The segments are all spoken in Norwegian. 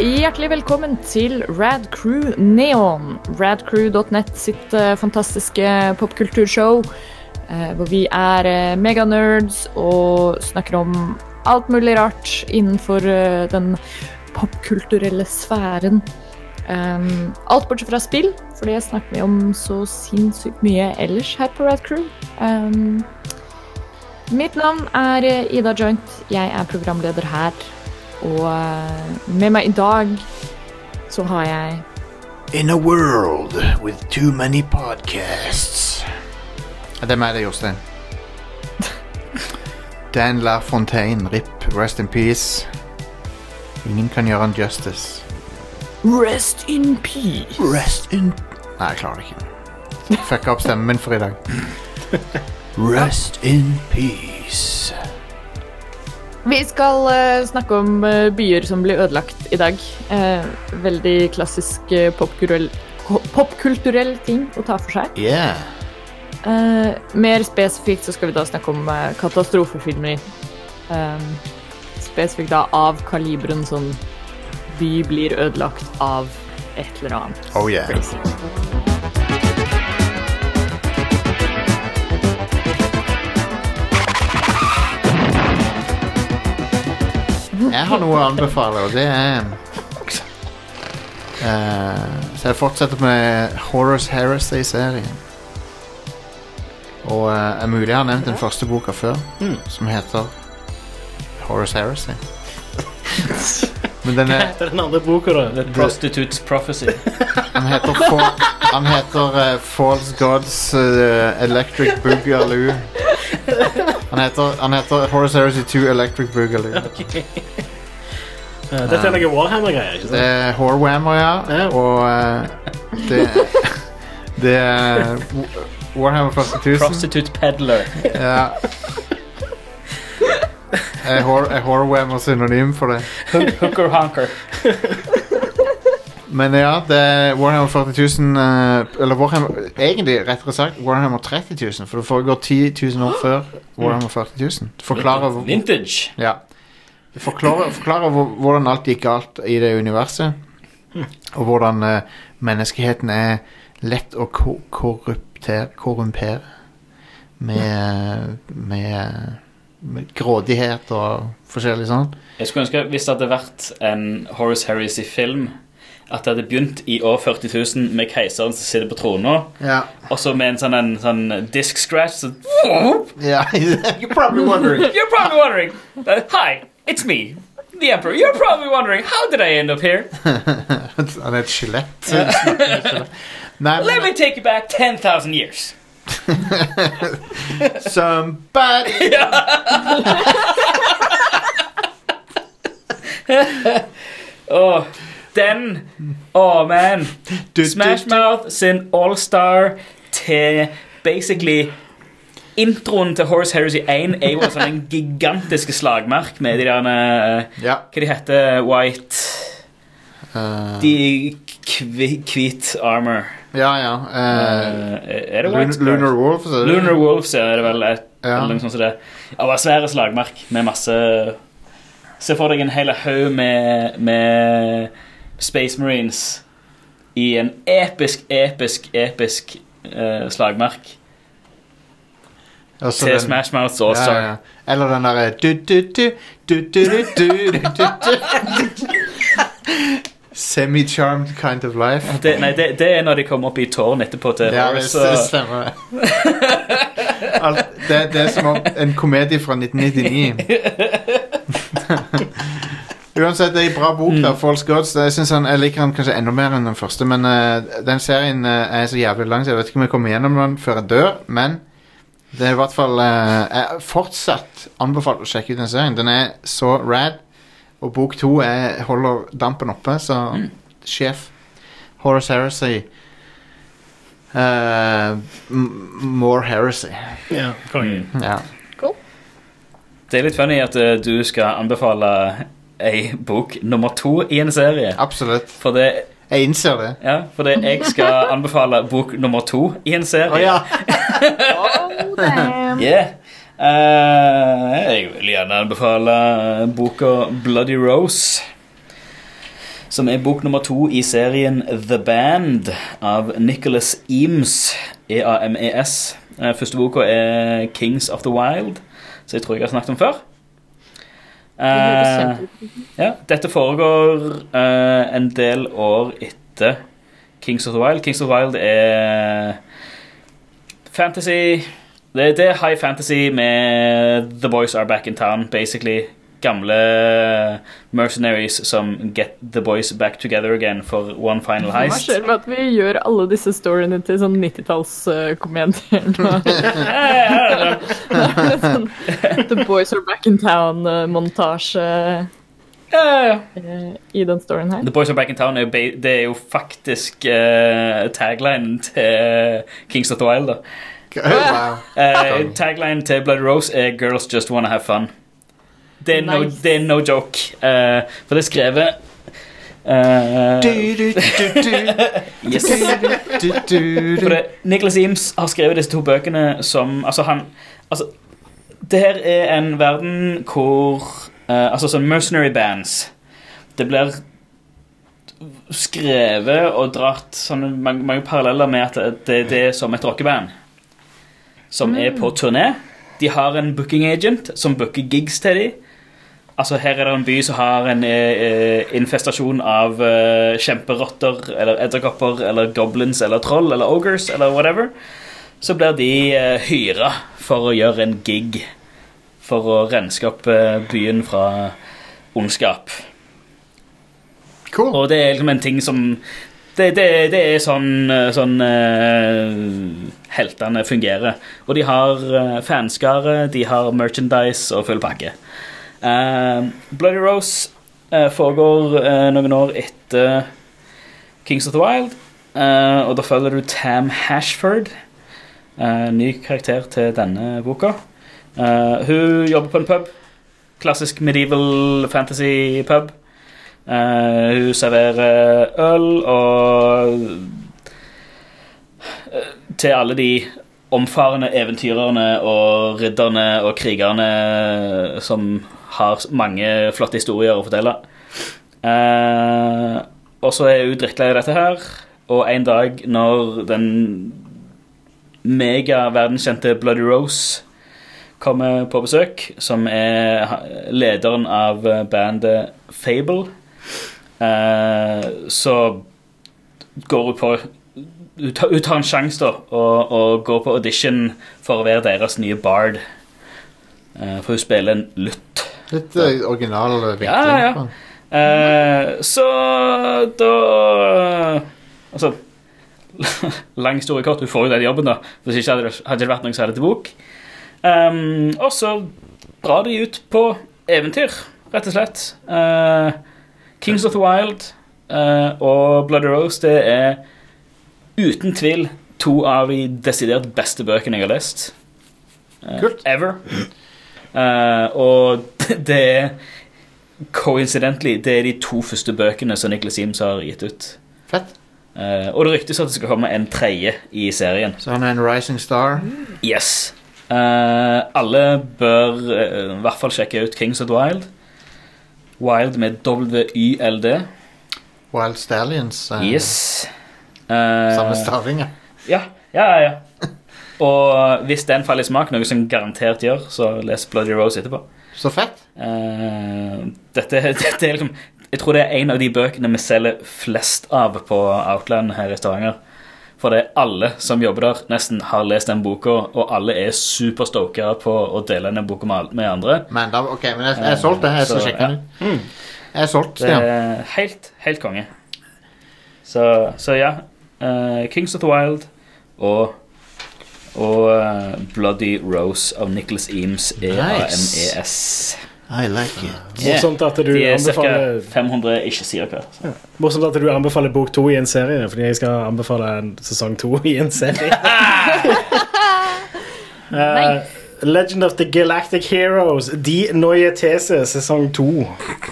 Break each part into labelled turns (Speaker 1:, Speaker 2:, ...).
Speaker 1: hjertelig velkommen til Rad Crew Neon. Radcrew.net sitt eh, fantastiske popkulturshow. eh, Hvor vi er eh, meganerds og snakker om alt mulig rart innenfor eh, den popkulturelle sfæren. Um, Alt bortsett fra spill, for det snakker vi om så sinnssykt mye ellers her på Rad Crew. Um, Mitt navn er eh, Ida Joint. Jeg er programleder her. Og eh, med meg i dag så har jeg
Speaker 2: In a world with too many podcasts. Hvem er det, Jostein? Dan LaFontaine, RIP, rest in peace. Ingen kan gjøre han justice.
Speaker 1: Rest in peace.
Speaker 2: Rest in Nei, jeg klarer det ikke. Fucka opp stemmen min for i dag. Rest in peace.
Speaker 1: Vi skal eh, snakke om eh, byer som blir ødelagt i dag. Eh, veldig klassisk eh, popkulturell ko- popkulturell ting å ta for seg.
Speaker 2: Yeah.
Speaker 1: Eh, mer spesifikt så skal vi da snakke om eh, katastrofefilmer. Eh, spesifikt da av kaliberen sånn by blir ødelagt av et eller annet.
Speaker 2: Oh yeah.
Speaker 1: crazy.
Speaker 2: Jeg har noe å anbefale, og det er um, Eh, Så jeg fortsetter med Horace Heresy-serien. Og eh, er mulig jeg har nevnt den første boka før, som heter Horace Heresy. Men den, er,
Speaker 3: Det er den andre boka, da. The Prostitute's Prophecy.
Speaker 2: den heter, Fa- han heter eh, False Gods eh, Electric Boogaloo. Han heter, han heter Horace Heresy 2 Electric Boogaloo.
Speaker 3: Eh, Dette er noe Warhammer-greier. ikke
Speaker 2: Det
Speaker 3: sant?
Speaker 2: er Horwhammer, ja.
Speaker 3: Ja.
Speaker 2: Og eh, det, det er Wa- Warhammer 4000.
Speaker 3: Prostitute Peddler.
Speaker 2: Ja. Er Hor- er Horwhammer synonym for det?
Speaker 3: Hooker honker.
Speaker 2: Men ja, det er Warhammer 4000 eh, Eller Warhammer, egentlig rettere sagt Warhammer 30000, for det foregår 10 000 år før Warhammer 40000. Forklarer hvor-
Speaker 3: Vintage.
Speaker 2: Ja. Det forklarer, forklarer hvor- hvordan alt gikk galt i det universet. Og hvordan eh, menneskeheten er lett å ko korrupter, korrumpere. Med, med, med grådighet og forskjellig sånn.
Speaker 4: Jeg skulle ønske hvis det hadde vært en Horace Harris i film at det hadde begynt i år 40 000 med keiseren som sitter på trona,
Speaker 2: Ja.
Speaker 4: og så med en sånn, en, sånn disk scratch så,
Speaker 2: You're probably wondering.
Speaker 4: You're probably wondering uh, Hi, it's me, the emperor. You're probably wondering How did I end up here?
Speaker 2: Han er et skjelett. Nei,
Speaker 4: Let me take you back 10,000 years.
Speaker 2: Somebody
Speaker 4: Åh, den Åh, Oh, man. Smash Mouth sin all-star til basically Introen til Horace Harris i 1 er jo en sånn en gigantisk slagmark med de der eh,
Speaker 2: Ja.
Speaker 4: Hva de heter White
Speaker 2: eh,
Speaker 4: De kvi- hvit armor.
Speaker 2: ja, ja. eh,
Speaker 4: Eh, er det
Speaker 2: Lun
Speaker 4: White?
Speaker 2: Lunar Wolf. så-
Speaker 4: Lunar Wolves ja, er det vel. Et,
Speaker 2: Ja.
Speaker 4: eller noe sånt som det. Ja, det var svære slagmark med masse Se for deg en hel haug med, med Space Marines i en episk, episk, episk eh, slagmark
Speaker 2: Og så
Speaker 4: til
Speaker 2: den-
Speaker 4: Smash Mouths All-Star.
Speaker 2: Ja, ja. Eller den derre du, du, du, du, du, du, du, du, du, du. Semi-charmed kind of life.
Speaker 4: Det, nei, det, det er når de kommer opp i tårn etterpå til
Speaker 2: Ja, det,
Speaker 4: Horus.
Speaker 2: det
Speaker 4: og-
Speaker 2: stemmer. det. Alt, det, det er som om en komedie fra 1999. Uansett, det er en bra bok. da, False Gods. Jeg, synes han, jeg liker han kanskje enda mer enn den første, men eh, den serien eh, er så jævlig lang, så jeg vet ikke om jeg kommer gjennom den før jeg dør, men det er i hvert fall eh, Jeg fortsatt anbefalt å sjekke ut den serien. Den er så rad, og bok to er- holder dampen oppe, så sjef Horace Heresy Eh, m- More Heresy.
Speaker 3: Ja, konge.
Speaker 2: Ja.
Speaker 4: Det er litt funny at eh, du skal anbefale ei bok nummer to i en serie.
Speaker 2: Absolutt.
Speaker 4: For det,
Speaker 2: Jeg innser det.
Speaker 4: ja, for det jeg skal anbefale bok nummer to i en serie.
Speaker 2: Å ja.
Speaker 1: Oh, damn.
Speaker 4: Yeah. Eh, jeg vil gjerne anbefale boka Bloody Rose. Som er bok nummer to i serien The Band av Nicholas Eames. E E-A-M-E-S. Eh, Første boka er Kings of the Wild, som jeg tror jeg har snakket om før. Eh, ja, dette foregår eh, en del år etter Kings of the Wild. Kings of the Wild er fantasy det, det er high fantasy med The Boys Are Back in Town, basically. Gamle mercenaries som get the boys back together again for one final
Speaker 1: Hva
Speaker 4: heist.
Speaker 1: skjer med at vi gjør alle disse storyene til sånn 90-tallskomedier nå? sånn, The Boys Are Back in Town-montasje eh, i den storyen her.
Speaker 4: The Boys Are Back in Town er jo, ba- det er jo faktisk eh, taglinen til Kings of the Wild. da.
Speaker 2: Wow.
Speaker 4: Eh, taglinen til Bloody Rose er 'Girls Just Wanna Have Fun'. Det er no,
Speaker 1: Nice.
Speaker 4: det er no joke. eh, for det er skrevet eh,
Speaker 2: Du, du, du, du.
Speaker 4: yes.
Speaker 2: Du, du,
Speaker 4: For
Speaker 2: du.
Speaker 4: det, Nicholas Eames har skrevet disse to bøkene som Altså, han altså, Det her er en verden hvor eh, Altså, sånn mercenary bands Det blir skrevet og dratt sånne mange, mange paralleller med at det- det, det er som et rockeband som er på turné. De har en booking agent som booker gigs til dem. Altså, her er det en by som har en eh, eh, infestasjon av eh, kjemperotter eller edderkopper eller goblins eller troll eller ogres eller whatever. Så blir de eh, hyra for å gjøre en gig for å renske opp eh, byen fra ondskap.
Speaker 2: Cool.
Speaker 4: Og det er liksom en ting som Det, det, det er sånn, eh, sånn eh, heltene fungerer. Og de har eh, fanskare, de har merchandise og full pakke. Eh, Bloody Rose eh, foregår eh, noen år etter Kings of the Wild. eh, og da følger du Tam Hashford, eh, ny karakter til denne boka. Eh, hun jobber på en pub. Klassisk medieval fantasy pub. Eh, hun serverer eh, øl og eh, Til alle de omfarende eventyrerne og ridderne og krigerne som har mange flotte historier å fortelle. Eh, og så er hun drittlei av dette her, og en dag når den mega verdenskjente Bloody Rose kommer på besøk, som er ha- lederen av eh, bandet Fable, eh, så går hun på Hun tar, hun tar en sjanse, da, og, og går på audition for å være deres nye bard. Eh, for hun spiller en lutt.
Speaker 2: Litt eh, original eh, vinkling.
Speaker 4: Ja, ja, ja.
Speaker 2: på den.
Speaker 4: Eh, så da Altså Lang historie kort, hun får jo den jobben, da. Hvis ikke hadde det, hadde det vært noe som hadde til bok. Ehm, og så drar de ut på eventyr, rett og slett. Eh, Kings of the Wild eh, og Bloody Rose, det er uten tvil to av de desidert beste bøkene jeg har lest. Eh,
Speaker 2: Kult.
Speaker 4: Ever. Eh, og det er Coincidentally, det er de to første bøkene som Nicholas Eames har gitt ut.
Speaker 2: Fett.
Speaker 4: Eh, og det ryktes at det skal komme en tredje i serien.
Speaker 2: Så han er en rising star.
Speaker 4: Yes. Eh, alle bør eh, i hvert fall sjekke ut Kings of the Wild. Wild med WYLD.
Speaker 2: Wild Stallions. eh,
Speaker 4: Yes. Eh,
Speaker 2: Samme staving, ja.
Speaker 4: Ja, ja, ja, ja. Og hvis den faller i smak, noe som garantert gjør, så les Bloody Rose etterpå.
Speaker 2: Så fett.
Speaker 4: Eh, dette, dette er liksom Jeg tror det er en av de bøkene vi selger flest av på Outland her i Stavanger. For det er alle som jobber der, nesten har lest den boka, og alle er superstoka på å dele den boka med al- med andre.
Speaker 2: Men da, ok, men jeg, jeg er solgt det. Jeg skal
Speaker 4: Så,
Speaker 2: sjekke den ut.
Speaker 3: Mm.
Speaker 2: Jeg er solgt,
Speaker 4: Det
Speaker 2: Stian.
Speaker 4: er helt, helt konge. Så, så ja. eh, Kings of the Wild og og eh, Bloody Rose av Nicholas Eames, E E-A-M-E-S.
Speaker 2: I like it.
Speaker 3: Morsomt at du
Speaker 4: De er ca.
Speaker 3: anbefaler
Speaker 4: 500, ikke sier hva. Så.
Speaker 3: Morsomt at du anbefaler bok to i en serie, fordi jeg skal anbefale en sesong to i en serie. Eh, Legend of the Galactic Heroes, De Neue These, sesong to.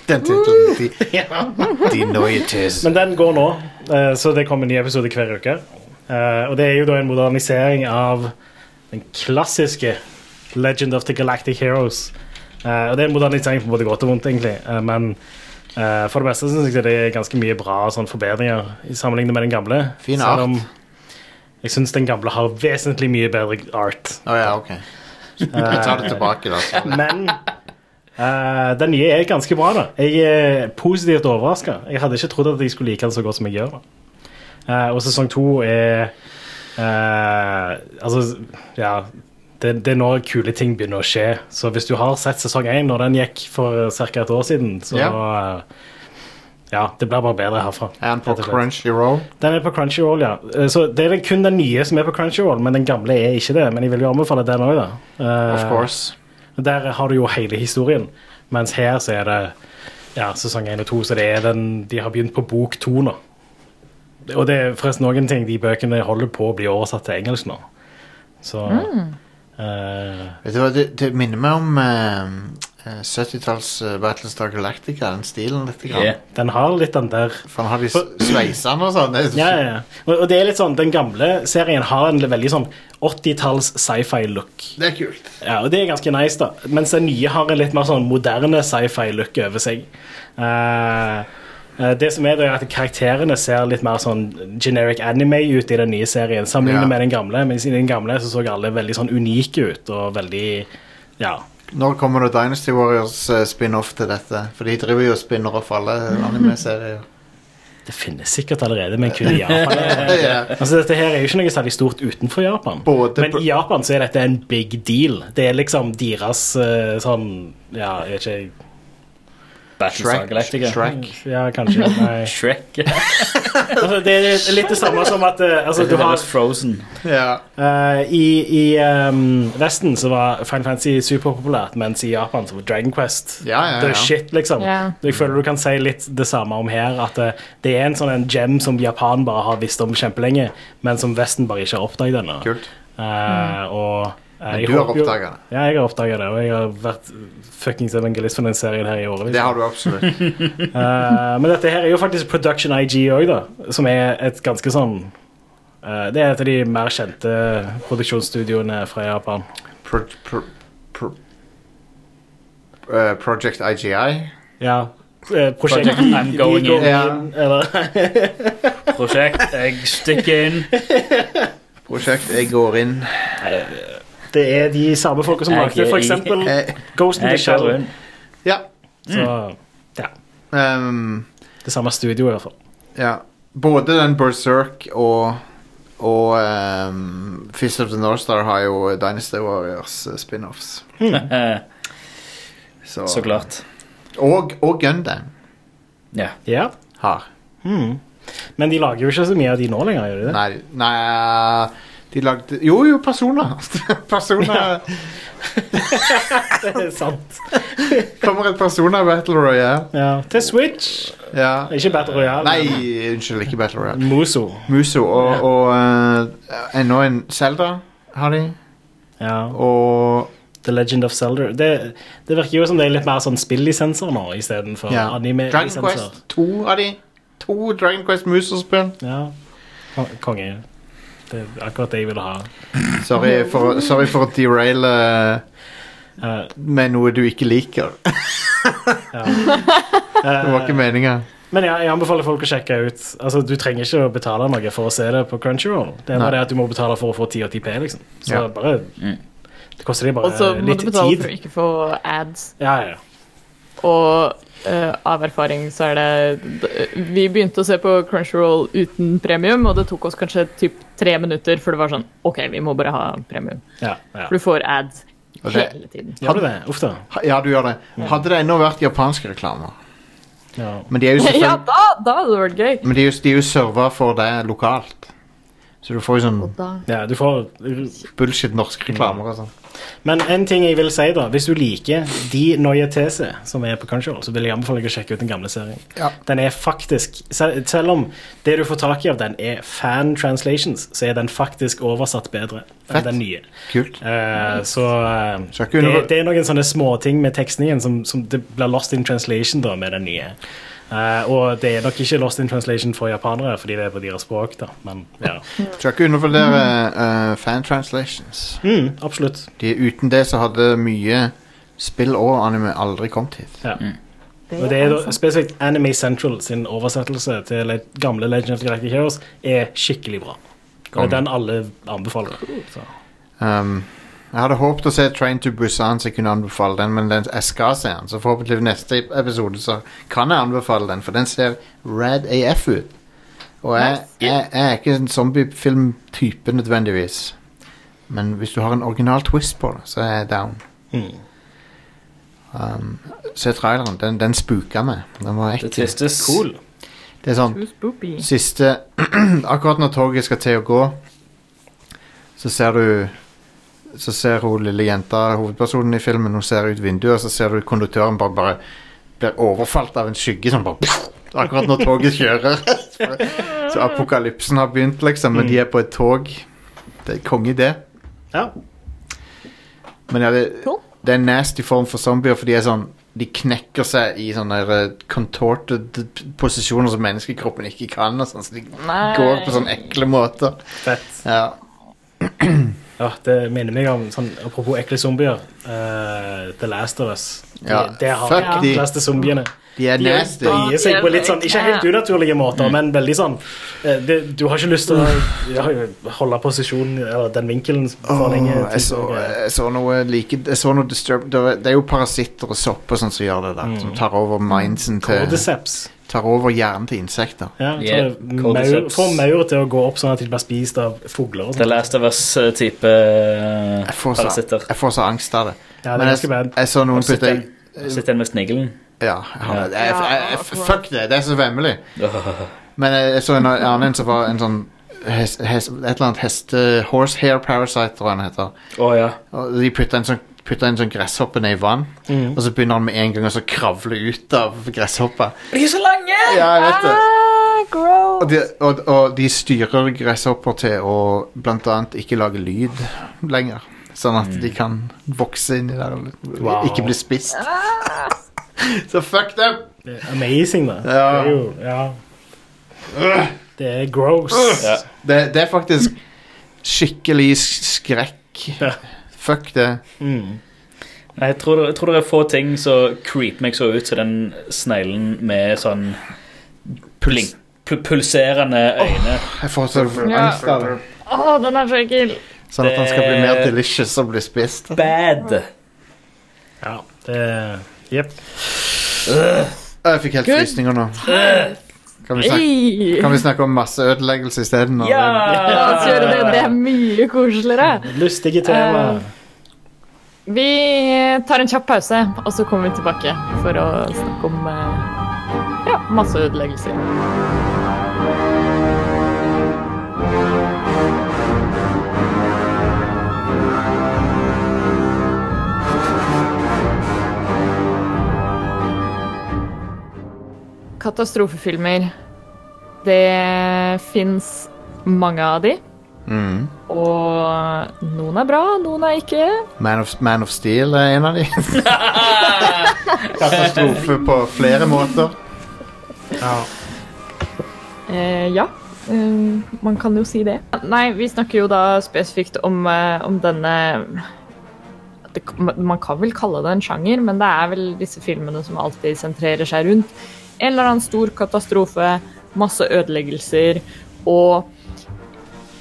Speaker 2: Den tittelen. De, de neue tes.
Speaker 3: Men den går nå, eh, så det kommer en ny episode hver uke. Eh, Og det er jo da en modernisering av den klassiske Legend of the Galactic Heroes. Eh, Og det er en modernisering på både godt og vondt, egentlig. Eh, Men Eh, for det meste syns jeg det er ganske mye bra sånn, forbedringer i sammenlignet med den gamle.
Speaker 2: Fin art.
Speaker 3: Selv om Jeg syns den gamle har vesentlig mye bedre art.
Speaker 2: Å ja, ok. Jeg tar det tilbake, da.
Speaker 3: Men eh, den nye er ganske bra, da. Jeg er positivt overraska. Jeg hadde ikke trodd at jeg skulle like den så godt som jeg gjør. da. Eh, og sesong to er eh, Altså, ja det, det er når kule ting begynner å skje. Så hvis du har sett sesong én, når den gikk for ca. et år siden, så eh, Ja, det blir bare bedre herfra.
Speaker 2: Er han på
Speaker 3: rett og slett.
Speaker 2: Crunchy Roll?
Speaker 3: Den er på Crunchyroll, ja. Eh, Så det er vel kun den nye som er på Crunchyroll, men den gamle er ikke det. Men jeg vil jo anbefale den òg, da. Eh,
Speaker 2: Of course.
Speaker 3: der har du jo hele historien, mens her så er det ja, sesong 1 og 2, så det er den, de har begynt på bok 2 nå. Og det er forresten noen ting, de bøkene holder på å bli oversatt til engelsk nå. Så eh,
Speaker 2: Vet du hva, det, det minner meg om eh, eh, 70-talls eh, Battlestar Galactica, den stilen litt. Grann.
Speaker 4: Yeah.
Speaker 3: den har litt den der
Speaker 2: For han har de s- sveisene og sånn. Det er så-
Speaker 3: ja, ja, ja. Og, og det er litt sånn, den gamle serien har en veldig sånn 80-talls sci-fi-look.
Speaker 2: Det er kult.
Speaker 3: Ja, og det er ganske nice, da. Mens den nye har en litt mer sånn moderne sci-fi-look over seg. Eh, eh, det som er, det er at Karakterene ser litt mer sånn generic anime ut i den nye serien, sammenlignet
Speaker 2: Ja.
Speaker 3: med den gamle. Mens i den gamle så så alle veldig sånn unike ut, og veldig Ja.
Speaker 2: Når kommer det Dynasty Warriors eh, spin-off til dette? For de driver jo og spinner off alle anime-serier.
Speaker 3: Det finnes sikkert allerede, men kun i Japan.
Speaker 2: Ja.
Speaker 3: Altså, dette her er jo ikke noe særlig stort utenfor Japan.
Speaker 2: Både
Speaker 3: men
Speaker 2: på-
Speaker 3: i Japan så er dette en big deal. Det er liksom deres eh, sånn Ja, jeg vet ikke
Speaker 4: Battlestar
Speaker 2: Shrek.
Speaker 4: Galactica.
Speaker 2: Shrek.
Speaker 3: Ja, kanskje. Nei.
Speaker 4: Shrek.
Speaker 3: altså, det er litt det samme som at eh, altså, du
Speaker 4: Det
Speaker 3: har,
Speaker 4: var Frozen.
Speaker 2: Ja.
Speaker 3: eh, I, i ehm, Vesten så var Final Fantasy superpopulært, mens i Japan så var Dragon Quest
Speaker 2: Ja, ja, ja.
Speaker 3: the shit, liksom.
Speaker 1: Ja.
Speaker 3: Jeg føler du kan si litt det samme om her, at eh, det er en sånn en gem som Japan bare har visst om kjempelenge, men som Vesten bare ikke har oppdaget ennå.
Speaker 2: Kult.
Speaker 3: Eh, og eh,
Speaker 2: Men
Speaker 3: jeg
Speaker 2: du har
Speaker 3: håper jo-
Speaker 2: oppdaget det.
Speaker 3: Ja, jeg har oppdaget det, og jeg har vært fuckings evangelist for den serien her i årevis.
Speaker 2: Det har du absolutt.
Speaker 3: Eh, men dette her er jo faktisk Production IG òg, da. Som er et ganske sånn eh, Det er et av de mer kjente produksjonsstudioene fra Japan.
Speaker 2: Pro, pro, pro, eh, Project IGI.
Speaker 3: Ja. eh, Prosjekt
Speaker 4: Project I'm
Speaker 3: Vi
Speaker 4: going
Speaker 3: går
Speaker 4: in.
Speaker 2: Ja.
Speaker 3: eller
Speaker 4: Prosjekt. Jeg stikker inn.
Speaker 2: Prosjekt Jeg går inn.
Speaker 3: Det er de samme folka som
Speaker 4: Jeg
Speaker 3: lagde
Speaker 4: er
Speaker 3: for
Speaker 4: i-
Speaker 3: eksempel
Speaker 2: Eh,
Speaker 3: Ghost in the
Speaker 4: Jeg går
Speaker 3: Shell.
Speaker 4: inn.
Speaker 2: ja.
Speaker 3: Så ja.
Speaker 2: ehm,
Speaker 3: Det samme studioet, i hvert fall.
Speaker 2: ja. Både den Berserk og og ehm, Fist of the North Star har jo Dynasty Warriors eh, spin-offs.
Speaker 4: Eh,
Speaker 2: Så,
Speaker 4: Så klart.
Speaker 2: Og, og Gundam
Speaker 4: Ja.
Speaker 3: Ja.
Speaker 2: har.
Speaker 3: Hmm. Men de lager jo ikke så mye av de nå lenger, gjør de det?
Speaker 2: Nei, nei De lagde Jo, jo, personer. personer
Speaker 3: Det er sant.
Speaker 2: Kommer et personer Battle Royale.
Speaker 3: Ja. Til Switch.
Speaker 2: Ja.
Speaker 3: Ikke Battle Royale.
Speaker 2: Nei,
Speaker 3: men
Speaker 2: unnskyld, ikke Battle Royale.
Speaker 3: Muso.
Speaker 2: Muso og, og eh, enda en Zelda har de.
Speaker 3: Ja.
Speaker 2: Og
Speaker 3: The Legend of Zelda. Det, det virker jo som det er litt mer sånn spillisenser nå istedenfor
Speaker 2: ja. Dragon
Speaker 3: anime-lisenser.
Speaker 2: Quest. To av de. To Dragon Quest Muso-spill.
Speaker 3: Ja. Kon- Konge. Det er akkurat det jeg ville ha.
Speaker 2: Sorry, for- sorry for å deraile
Speaker 3: Eh,
Speaker 2: med noe du ikke liker.
Speaker 3: ja.
Speaker 2: Det var ikke
Speaker 3: Eh,
Speaker 2: meninga.
Speaker 3: men ja, jeg anbefaler folk å sjekke ut. Altså, Du trenger ikke å betale noe for å se det på Crunchyroll. Det er
Speaker 2: Nei.
Speaker 3: bare det at du må betale for å få 1080P, liksom. Så
Speaker 2: Ja.
Speaker 3: bare,
Speaker 4: Mm.
Speaker 3: det koster deg bare
Speaker 1: Og så må
Speaker 3: eh, litt
Speaker 1: du betale
Speaker 3: tid.
Speaker 1: for å ikke få ads.
Speaker 3: Ja, ja.
Speaker 1: Og eh, av erfaring så er det d- Vi begynte å se på Crunchyroll uten premium, og det tok oss kanskje typ tre minutter før det var sånn OK, vi må bare ha premium.
Speaker 3: ja, ja.
Speaker 1: For du får ads
Speaker 2: Og det-
Speaker 1: hele tiden.
Speaker 3: Gjør du det? Uff da.
Speaker 2: Ha- Ja, du gjør det. Hadde det ennå vært japanske reklamer
Speaker 3: Ja.
Speaker 2: Men de er jo
Speaker 1: Ja,
Speaker 2: selvfølgelig
Speaker 1: da, da hadde det vært gøy.
Speaker 2: Men de er jo, de er jo serva for deg lokalt. Så du får jo sånn
Speaker 1: Og da
Speaker 3: ja, du får
Speaker 2: bullshit norske reklamer og sånn.
Speaker 3: Men en ting jeg vil si da Hvis du liker de Noia TC som er på Crunchyroll, så vil jeg anbefale deg å sjekke ut den gamle serien.
Speaker 2: Ja.
Speaker 3: Den er faktisk sel- Selv om det du får tak i av den er fan translations, så er den faktisk oversatt bedre
Speaker 2: Fett.
Speaker 3: enn den nye.
Speaker 2: Kult.
Speaker 3: Eh, så eh,
Speaker 2: Skal ikke
Speaker 3: det,
Speaker 2: under-
Speaker 3: det er noen sånne småting med tekstingen som, som det blir lost in translation da med den nye. Eh, og det er nok ikke lost in translation for japanere, fordi det er på deres språk, da. Men ja.
Speaker 2: Skal ikke undervurdere eh, fan translations.
Speaker 3: Mm, absolutt.
Speaker 2: De, uten det så hadde mye spill og anime aldri kommet hit.
Speaker 3: Ja.
Speaker 1: Det
Speaker 3: Og det er da,
Speaker 1: altså-
Speaker 3: Spesifikt Anime Central sin oversettelse til le gamle Legend of the Galactic Heroes er skikkelig bra. Og det er den alle anbefaler. Så.
Speaker 2: Um, jeg hadde håpet å se Train to Busan, så jeg kunne anbefale den, men den, jeg skal se den. Så forhåpentlig neste episode så kan jeg anbefale den, for den ser rad AF ut. Og jeg, jeg, jeg er ikke en zombiefilmtype nødvendigvis. Men hvis du har en original twist på det, så er jeg down.
Speaker 3: Mm.
Speaker 2: Um, se traileren. Den, den spuka meg. Den var
Speaker 4: Det
Speaker 2: ekkel.
Speaker 4: tvistes.
Speaker 3: Cool.
Speaker 2: Det er sånn
Speaker 1: Too spoopy.
Speaker 2: Siste Akkurat når toget skal til å gå, så ser du Så ser hun lille jenta, hovedpersonen i filmen, hun ser ut vinduet, og så ser du konduktøren bare, bare blir overfalt av en skygge som bare Akkurat når toget kjører. Så apokalypsen har begynt, liksom, men de er på et tog. Det er konge, det.
Speaker 3: Ja.
Speaker 2: Men ja, det,
Speaker 1: Cool.
Speaker 2: det er en nasty form for zombier, for de er sånn De knekker seg i sånne der, eh, contorted posisjoner som menneskekroppen ikke kan, og sånn, så de
Speaker 1: Nei.
Speaker 2: går
Speaker 3: sånn
Speaker 2: på sånne ekle måter.
Speaker 3: Fett.
Speaker 2: Ja.
Speaker 3: Ja, det minner meg om sånn, Apropos ekle zombier. eh, The Last of Us.
Speaker 2: Ja,
Speaker 3: Det, det har
Speaker 2: fuck
Speaker 3: de
Speaker 2: de.
Speaker 3: ekleste zombiene.
Speaker 2: De er
Speaker 3: De
Speaker 2: nasty.
Speaker 3: bøyer seg på litt sånn, ikke helt unaturlige
Speaker 2: Mm.
Speaker 3: måter, men veldig sånn eh, det, Du har ikke lyst til å ja, holde posisjonen eller den vinkelen for
Speaker 2: Åh,
Speaker 3: lenge. eh,
Speaker 2: jeg, så, jeg så noe like Jeg så noe disturb det, var- det er jo parasitter og sopp og sånn som gjør det der. Som
Speaker 3: Mm.
Speaker 2: tar over mindsen til
Speaker 3: Cordyceps.
Speaker 2: Tar over hjernen til insekter.
Speaker 3: Ja,
Speaker 4: Ja,
Speaker 3: yeah, maur,
Speaker 4: cordyceps.
Speaker 3: får maur til å gå opp sånn at de blir spist av fugler og
Speaker 4: The
Speaker 3: sånn.
Speaker 4: Last of Us-type
Speaker 2: Jeg får så,
Speaker 4: eh, parasitter.
Speaker 2: jeg får så angst av det.
Speaker 3: Ja, det
Speaker 2: Men
Speaker 3: er
Speaker 2: jeg,
Speaker 3: ganske bad.
Speaker 2: jeg så noen putte
Speaker 4: Sitter Sitter den med snigelen.
Speaker 2: Ja. Jeg, har- jeg, jeg,
Speaker 1: Ja,
Speaker 2: jeg,
Speaker 1: akkurat.
Speaker 2: fuck det, det er så vemmelig. Men jeg, jeg så en annen en som var en sånn hest, hest, Et eller annet heste... Horsehair parasite, tror jeg den heter.
Speaker 4: Å ja.
Speaker 2: Og de putter en sånn, putter en sånn gresshoppe ned i vann, og så begynner han med en gang å så kravle ut av gresshoppa.
Speaker 4: De er så lange!
Speaker 2: Ja, jeg vet det.
Speaker 1: Ah, gross.
Speaker 2: Og de, og, og de styrer gresshopper til å blant annet ikke lage lyd lenger. Sånn at de kan vokse inni der og
Speaker 3: Wow.
Speaker 2: ikke bli spist. så fuck them!
Speaker 3: Det er Amazing, da.
Speaker 2: Ja.
Speaker 3: Det er jo ja. Det er gross.
Speaker 4: Ja.
Speaker 2: Det, det er faktisk skikkelig s- skrekk.
Speaker 3: Ja.
Speaker 2: Fuck det.
Speaker 3: Mm.
Speaker 4: Nei, Jeg tror, jeg tror det er få ting som creeper meg så ut som den sneglen med sånn blink, pul pulserende øyne.
Speaker 2: Jeg får så
Speaker 1: Ja.
Speaker 2: angst av det.
Speaker 1: Å, Ah. den er så ekkel.
Speaker 2: Sånn at han skal bli mer delicious og bli spist.
Speaker 4: Bad.
Speaker 3: ja. Det er Jepp.
Speaker 2: Å, Jeg fikk helt
Speaker 1: Good
Speaker 2: frysninger nå. Kan vi snakke,
Speaker 1: Hey.
Speaker 2: kan vi snakke om masseødeleggelse isteden? og-
Speaker 1: La oss
Speaker 4: Ja!
Speaker 1: gjøre det. Det er mye koseligere.
Speaker 3: Lystige
Speaker 2: Um.
Speaker 3: tema.
Speaker 1: Vi tar en kjapp pause, og så kommer vi tilbake for å snakke om eh, ja, masseødeleggelser. Katastrofefilmer. Det fins mange av de.
Speaker 2: Mm.
Speaker 1: Og noen er bra, noen er ikke.
Speaker 2: Man of, Man of Steel er en av de. Katastrofe på flere måter.
Speaker 3: Ja.
Speaker 1: Eh, ja, eh, man kan jo si det. Nei, vi snakker jo da spesifikt om, eh, om denne det, Man kan vel kalle det en sjanger, men det er vel disse filmene som alltid sentrerer seg rundt en eller annen stor katastrofe, masse ødeleggelser og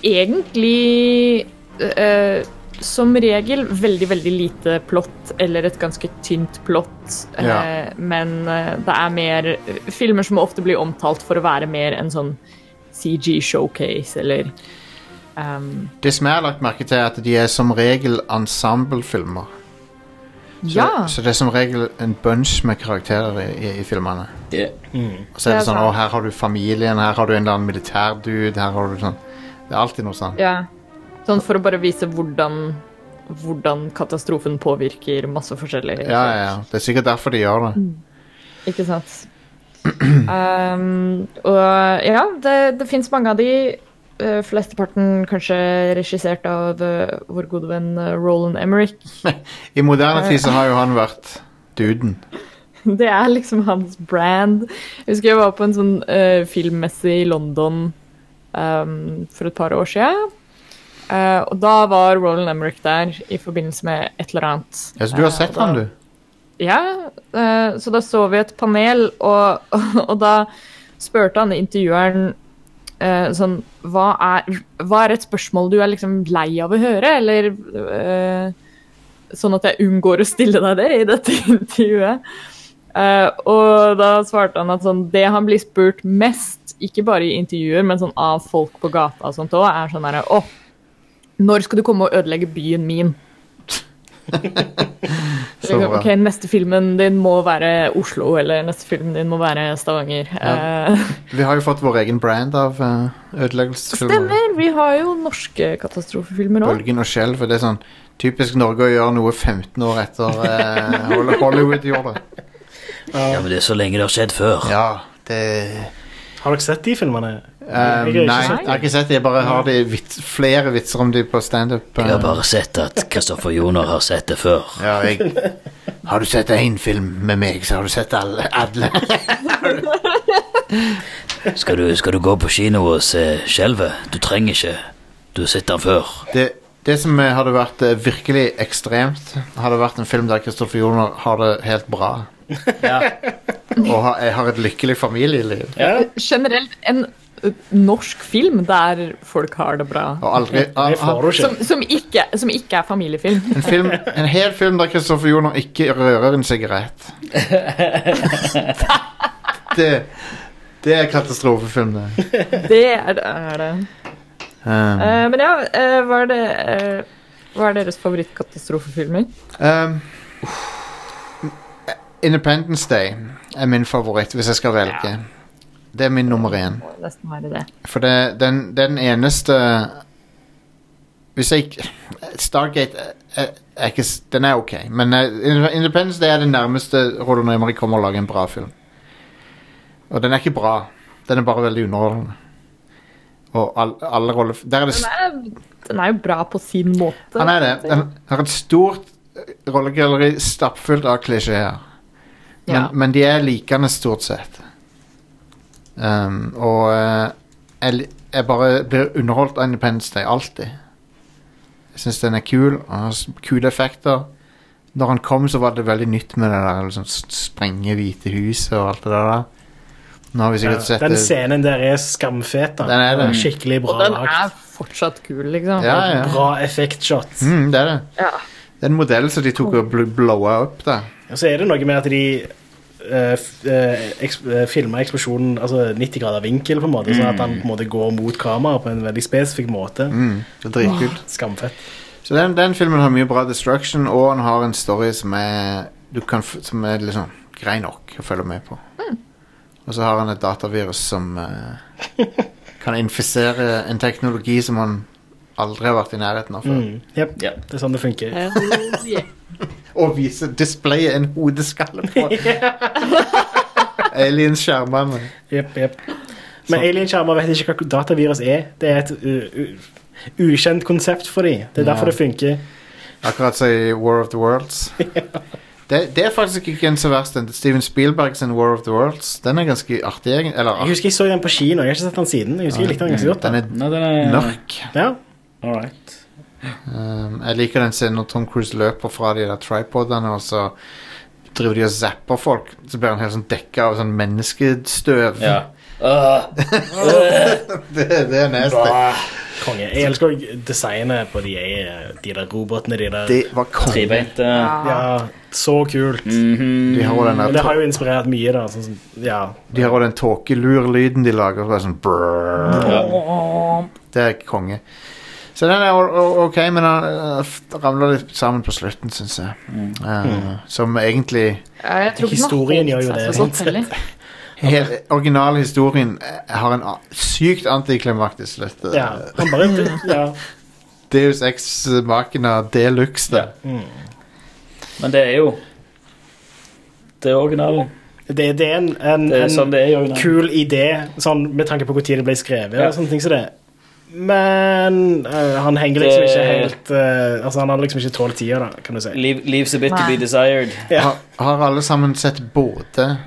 Speaker 1: egentlig eh, som regel veldig, veldig lite plott, eller et ganske tynt plott. eh,
Speaker 2: Ja.
Speaker 1: Men eh, det er mer filmer som ofte blir omtalt for å være mer en sånn CG-showcase, eller ehm,
Speaker 2: Det som jeg har lagt merke til, er at de er som regel ensemblefilmer. Så,
Speaker 1: Ja!
Speaker 2: så det er som regel en bunch med karakterer i, i, i filmene.
Speaker 4: Det-
Speaker 2: Og så er det,
Speaker 1: Det er
Speaker 2: sånn
Speaker 1: sant.
Speaker 2: Å, her har du familien, her har du en eller annen militærdude, her har du sånn Det er alltid noe sånn.
Speaker 1: ja. Sånn for å bare vise hvordan, hvordan katastrofen påvirker masse forskjellig.
Speaker 2: Ja, ja, ja. Det er sikkert derfor de gjør
Speaker 1: Mm.
Speaker 2: det.
Speaker 1: Ikke sant. Ehm, og ja, det, det fins mange av de. eh, Flesteparten kanskje regissert av eh, vår gode venn eh, Roland Emerick.
Speaker 2: I moderne tid så har jo han vært duden.
Speaker 1: Det er liksom hans brand. Jeg husker jeg var på en sånn eh, filmmesse i London ehm, for et par år siden. Eh, og da var Roland Emerick der i forbindelse med et eller annet.
Speaker 2: Ja, så du har
Speaker 1: Eh,
Speaker 2: sett
Speaker 1: og da-
Speaker 2: han, du?
Speaker 1: Ja, eh, så da så vi et panel, og, og, da spurte han intervjueren eh, sånn hva er, hva er et spørsmål du er liksom lei av å høre, eller eh, Sånn at jeg unngår å stille deg det i dette intervjuet. Eh, og da svarte han at sånn, det han blir spurt mest, ikke bare i intervjuer, men sånn av folk på gata og sånt òg, er sånn herre Å, når skal du komme og ødelegge byen min?
Speaker 2: Så
Speaker 1: Liksom,
Speaker 2: bra.
Speaker 1: ok, neste filmen din må være Oslo, eller neste filmen din må være Stavanger.
Speaker 2: Ja.
Speaker 1: Eh,
Speaker 2: Vi har jo fått vår egen brand av eh, ødeleggelsesfilmer.
Speaker 1: stemmer! Vi har jo norske katastrofefilmer òg.
Speaker 2: Bølgen og skjelv. Det er sånn typisk Norge å gjøre noe 15 år etter eh, Hol- Hollywood gjorde det.
Speaker 5: Ja, men det er så lenge det har skjedd før.
Speaker 2: Ja, det
Speaker 3: Har dere sett de filmene?
Speaker 2: Eh,
Speaker 3: Jeg har ikke
Speaker 2: Nei,
Speaker 3: sett
Speaker 2: jeg har ikke sett det. Jeg bare har de vits, flere vitser om de på standup. eh.
Speaker 5: Jeg har bare sett at Kristoffer Joner har sett det før.
Speaker 2: Ja, jeg Har du sett én film med meg, så har du sett alle. alle.
Speaker 5: Skal du, skal du gå på kino og se Skjelvet? Du trenger ikke. Du har sett den før.
Speaker 2: Det, det som eh, hadde vært eh, virkelig ekstremt, hadde vært en film der Kristoffer Joner har det helt bra. Og har, jeg har et lykkelig familieliv.
Speaker 1: Generelt en ø, norsk film der folk har det bra.
Speaker 2: Og aldri ah,
Speaker 3: Det får
Speaker 2: ah,
Speaker 3: du ikke.
Speaker 1: Som, som, ikke, som ikke er familiefilm.
Speaker 2: en, film, en hel film der Kristoffer Joner ikke rører en sigarett. Det, det er katastrofefilm, det.
Speaker 1: Det er, er det.
Speaker 2: Um,
Speaker 1: Eh, men ja, eh, hva er, det, eh, hva er deres favorittkatastrofefilmer?
Speaker 2: um, Independence Day er min favoritt, hvis jeg skal velge. Det er min nummer én.
Speaker 1: Må nesten være det.
Speaker 2: For det, den, den eneste Hvis jeg ikke Stargate er, er ikke, s- den er ok, men eh, Independence Day er det nærmeste Roland Emry kommer å lage en bra film. Og den er ikke bra. Den er bare veldig underholdende. Og all, alle roller Der er det s-
Speaker 1: Den er, den er jo bra på sin måte.
Speaker 2: han er det. Den har et stort eh, rollegalleri stappfullt av klisjeer. Men,
Speaker 1: Ja.
Speaker 2: men de er likende stort sett. Um, og eh, jeg, li- jeg bare blir underholdt av Independence Day alltid. Jeg syns den er kul, og har s- kule effekter. Når han kom, så var det veldig nytt med det der liksom, s- sprenge Hvite huset og alt det der. Nå har vi
Speaker 3: Ja,
Speaker 2: sikkert sett
Speaker 3: Den
Speaker 2: det.
Speaker 3: scenen der er skamfet. da.
Speaker 2: Den er det.
Speaker 3: Skikkelig
Speaker 1: Og
Speaker 3: bra
Speaker 1: den er
Speaker 3: lagt.
Speaker 1: fortsatt kul, liksom.
Speaker 2: Ja, ja.
Speaker 3: Bra effektshot.
Speaker 2: Mm, det er det.
Speaker 1: Ja.
Speaker 2: Det er en modell som de tok og bl- blowa opp. Da.
Speaker 3: Og så er det noe med at de eh, f- eh, eksp- eh, filmer eksplosjonen altså 90 grader vinkel, på en måte, sånn at han på en måte går mot kameraet på en veldig spesifikk måte.
Speaker 2: Mm, det er dritkult.
Speaker 3: Skamfett.
Speaker 2: Så den, den filmen har mye bra destruction, og han har en story som er, du kan, f- som er liksom grei nok å følge med på. Og så har han et datavirus som eh, kan infisere en teknologi som han aldri har vært i nærheten av før.
Speaker 3: Mm. Jep,
Speaker 4: Ja.
Speaker 3: Det er sånn det funker.
Speaker 2: Og vise displayet en hodeskalle på. Aliens-skjermene.
Speaker 3: Jep, jep. Men alienskjermer vet ikke hva datavirus er. Det er et u- u- ukjent konsept for dem. Det er
Speaker 2: Ja.
Speaker 3: derfor det funker.
Speaker 2: Akkurat som i War of the Worlds. Det, det er faktisk ikke en så verst. den. Steven Spielbergs War of the Worlds. Den er ganske artig. egen- Eller
Speaker 3: Jeg
Speaker 2: artig.
Speaker 3: husker jeg så den på kino. Jeg har ikke sett den siden. Jeg husker jeg likte den ganske godt.
Speaker 2: Den
Speaker 3: da.
Speaker 2: er
Speaker 4: Nei, den er
Speaker 2: mørk.
Speaker 3: Ja.
Speaker 4: All right.
Speaker 2: Um, jeg liker den scenen når Tom Cruise løper fra de der tripodene, og så driver de og zapper folk. Så blir han helt sånn dekka av sånn menneskestøv.
Speaker 4: Ja. Øh,
Speaker 2: det, det er nasty.
Speaker 3: Konge. Jeg elsker også designet på de, eh, de der robotene. De der.
Speaker 2: Det var konge.
Speaker 4: Trebeinte.
Speaker 3: Ja, så kult.
Speaker 4: Mm. Mhm.
Speaker 2: De har også den,
Speaker 3: Men Mm, det
Speaker 2: der-
Speaker 3: har jo inspirert mye, da. Sånn som, ja.
Speaker 2: de har også den tåkelurlyden de lager. Så det, er sånn brrrr.
Speaker 3: Mm.
Speaker 2: det er konge. Så den er o- o- ok, men den uh, ramler litt sammen på slutten, syns jeg. Uh,
Speaker 3: Mm.
Speaker 2: som egentlig
Speaker 1: Ja, jeg tror ikke den har holdt
Speaker 3: Historien gjør jo
Speaker 1: seg
Speaker 3: det,
Speaker 1: så godt
Speaker 3: sant?
Speaker 1: heller.
Speaker 2: Hele originalhistorien eh, har en a- sykt antiklimaktisk slutt. eh,
Speaker 3: ja. Han bare
Speaker 4: Mm.
Speaker 3: ja.
Speaker 2: Deus Ex Machina Deluxe da.
Speaker 4: Men det er jo Det er originalen.
Speaker 3: Det, det er en, en,
Speaker 4: Det er
Speaker 3: en
Speaker 4: sånn det er i originalen.
Speaker 3: kul idé, sånn, med tanke på hvor tid det ble skrevet.
Speaker 4: Ja.
Speaker 3: og sånne ting som det. Men øh, han henger liksom
Speaker 4: Det-
Speaker 3: ikke helt øh, Altså Han har liksom ikke tålt tida, da, kan du si.
Speaker 4: Leave, leaves a bit to be
Speaker 1: Nei.
Speaker 4: desired.
Speaker 3: Ja.
Speaker 2: Har, har alle sammen sett både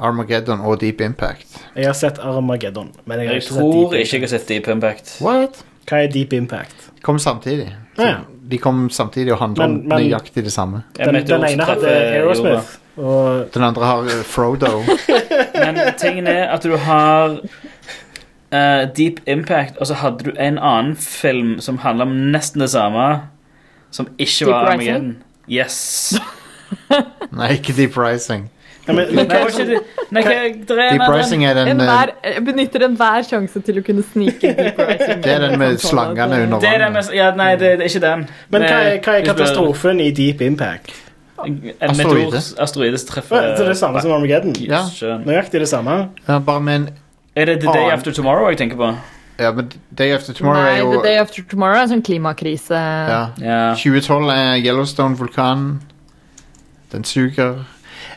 Speaker 2: Armageddon og Deep Impact?
Speaker 3: Jeg har sett Armageddon, men jeg har
Speaker 4: Jeg
Speaker 3: ikke sett
Speaker 4: tror
Speaker 3: Deep
Speaker 4: ikke jeg
Speaker 3: Impact.
Speaker 4: har sett Deep Impact.
Speaker 2: What?
Speaker 3: Hva er Deep Impact?
Speaker 2: Kom samtidig.
Speaker 3: Ja.
Speaker 2: de kom samtidig og handler om
Speaker 3: Men- men-
Speaker 2: nøyaktig det samme.
Speaker 4: En
Speaker 3: Den,
Speaker 4: meteor
Speaker 3: den
Speaker 4: som
Speaker 3: ene hadde
Speaker 4: treffer eh, jorda.
Speaker 3: Aerosmith. Og
Speaker 2: Den andre har eh, Frodo.
Speaker 4: Men tingen er at du har eh, Deep Impact, og så hadde du en annen film som handla om nesten det samme, som ikke
Speaker 1: Deep
Speaker 4: var
Speaker 1: Rising?
Speaker 4: Armageddon. Yes.
Speaker 2: Nei, ikke Deep Rising.
Speaker 3: ja, men,
Speaker 4: Nei,
Speaker 3: men,
Speaker 4: det var ikke det. Nei, hva- det er en
Speaker 2: Deep
Speaker 4: annen.
Speaker 2: Rising er den, eh,
Speaker 1: Enhver, jeg benytter enhver sjanse til å kunne snike deep rising.
Speaker 2: det er den med slangene under
Speaker 4: Det er den
Speaker 2: vannet.
Speaker 4: mest Ja, nei, det, det er ikke den.
Speaker 3: men hva er, hva er
Speaker 4: Det-
Speaker 3: katastrofen i Deep Impact?
Speaker 4: En meteor
Speaker 2: Asteroide.
Speaker 4: asteroide som
Speaker 3: Det
Speaker 4: treffer
Speaker 3: er det samme som Armageddon.
Speaker 2: Ja.
Speaker 4: Skjønn.
Speaker 3: Nøyaktig det samme.
Speaker 2: Ja, bare med en
Speaker 4: Er det The Day
Speaker 2: Annen.
Speaker 4: After Tomorrow jeg tenker på?
Speaker 2: Ja, men Day After Tomorrow
Speaker 1: Nei,
Speaker 2: er
Speaker 1: The
Speaker 2: jo
Speaker 1: Day After Tomorrow er en sånn klimakrise.
Speaker 2: ja.
Speaker 4: Ja.
Speaker 2: 2012 er Yellowstone-vulkanen. Den suger.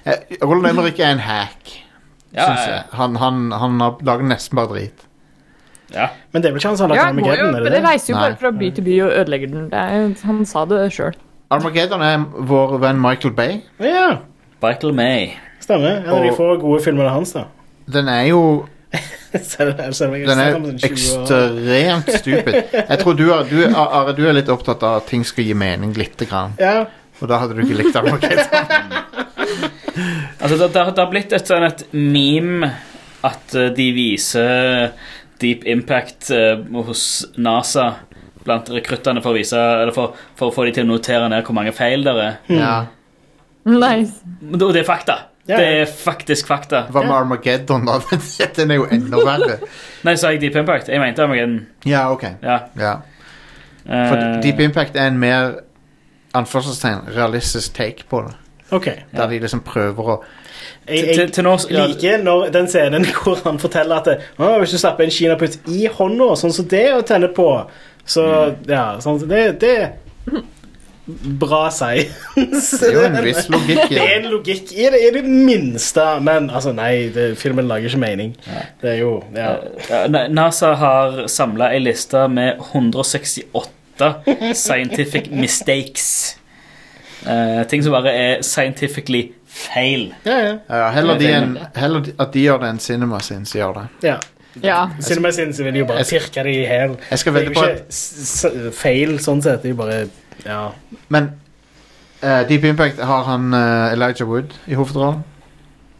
Speaker 2: Eh, Roland Emmerich er en hack,
Speaker 4: Ja,
Speaker 2: syns
Speaker 4: ja,
Speaker 2: jeg. Han, han, han har lager nesten bare drit.
Speaker 4: ja.
Speaker 3: Men det er vel ikke han som har
Speaker 1: Ja,
Speaker 3: lagt
Speaker 1: må jo,
Speaker 3: Armageddon? er
Speaker 1: men
Speaker 3: det
Speaker 1: det
Speaker 3: det?
Speaker 1: reiser jo bare
Speaker 2: Nei.
Speaker 1: fra by til by og ødelegger den. Det er, han sa det sjøl.
Speaker 2: Armageddon er vår venn Michael Bay.
Speaker 3: Ja,
Speaker 4: Michael May.
Speaker 3: stemmer. En av de
Speaker 2: Og-
Speaker 3: få gode filmene hans, da.
Speaker 2: Den er jo
Speaker 3: Selv selv om jeg har
Speaker 2: Den
Speaker 3: sett
Speaker 2: er
Speaker 3: ham siden 20 år.
Speaker 2: ekstremt stupid. Jeg tror du, er- du, er- Are, du er litt opptatt av at ting skal gi mening lite grann.
Speaker 3: Ja,
Speaker 2: Og da hadde du ikke likt Armageddon.
Speaker 4: Altså, det, det, det har blitt et sånn et meme at eh, de viser Deep Impact eh, hos NASA blant rekruttene for å vise Eller for, for å få de til å notere ned hvor mange feil der er.
Speaker 2: Ja.
Speaker 1: Nice.
Speaker 4: Men det- Og det er fakta.
Speaker 3: Ja.
Speaker 4: Det er faktisk fakta.
Speaker 2: Hva med Armageddon, da? Den er jo enda verre.
Speaker 4: Nei, sa jeg Deep Impact? Jeg mente Armageddon.
Speaker 2: Ja, ok.
Speaker 4: Ja.
Speaker 2: Ja.
Speaker 4: Eh,
Speaker 2: For Deep Impact er en mer anførselstegn, realistisk take på det.
Speaker 3: ok.
Speaker 2: Der de liksom prøver å
Speaker 3: Jeg,
Speaker 4: til,
Speaker 3: jeg
Speaker 4: til nå ja,
Speaker 3: liker når den scenen hvor han forteller at det, «Å, hvis du stapper en kinaputt i hånda, sånn som det å tenne på, så
Speaker 2: Mm.
Speaker 3: ja, sånn, det, det er bra seg.
Speaker 2: Det er jo en viss logikk i
Speaker 3: Det er
Speaker 2: det.
Speaker 3: en logikk i det, i det minste, men altså, nei, det, filmen lager ikke mening. Det er jo ja.
Speaker 4: Ja, nei, Eh, NASA har samla ei liste med 168 scientific mistakes. Eh, ting som bare er scientifically feil.
Speaker 3: Ja, ja.
Speaker 2: Ja, heller, de enn- heller de- at de gjør det, enn Cinema Sins gjør det.
Speaker 3: ja.
Speaker 1: Ja.
Speaker 3: Cinema Sins vil jo bare
Speaker 2: Jeg skal-
Speaker 3: pirke det i hæl.
Speaker 2: Jeg skal
Speaker 3: Det er
Speaker 2: vedde
Speaker 3: jo
Speaker 2: på
Speaker 3: ikke
Speaker 2: at
Speaker 3: s- s- feil, sånn sett. Det er jo bare ja.
Speaker 2: Men eh, Deep Impact har han eh, Elijah Wood i hovedrollen.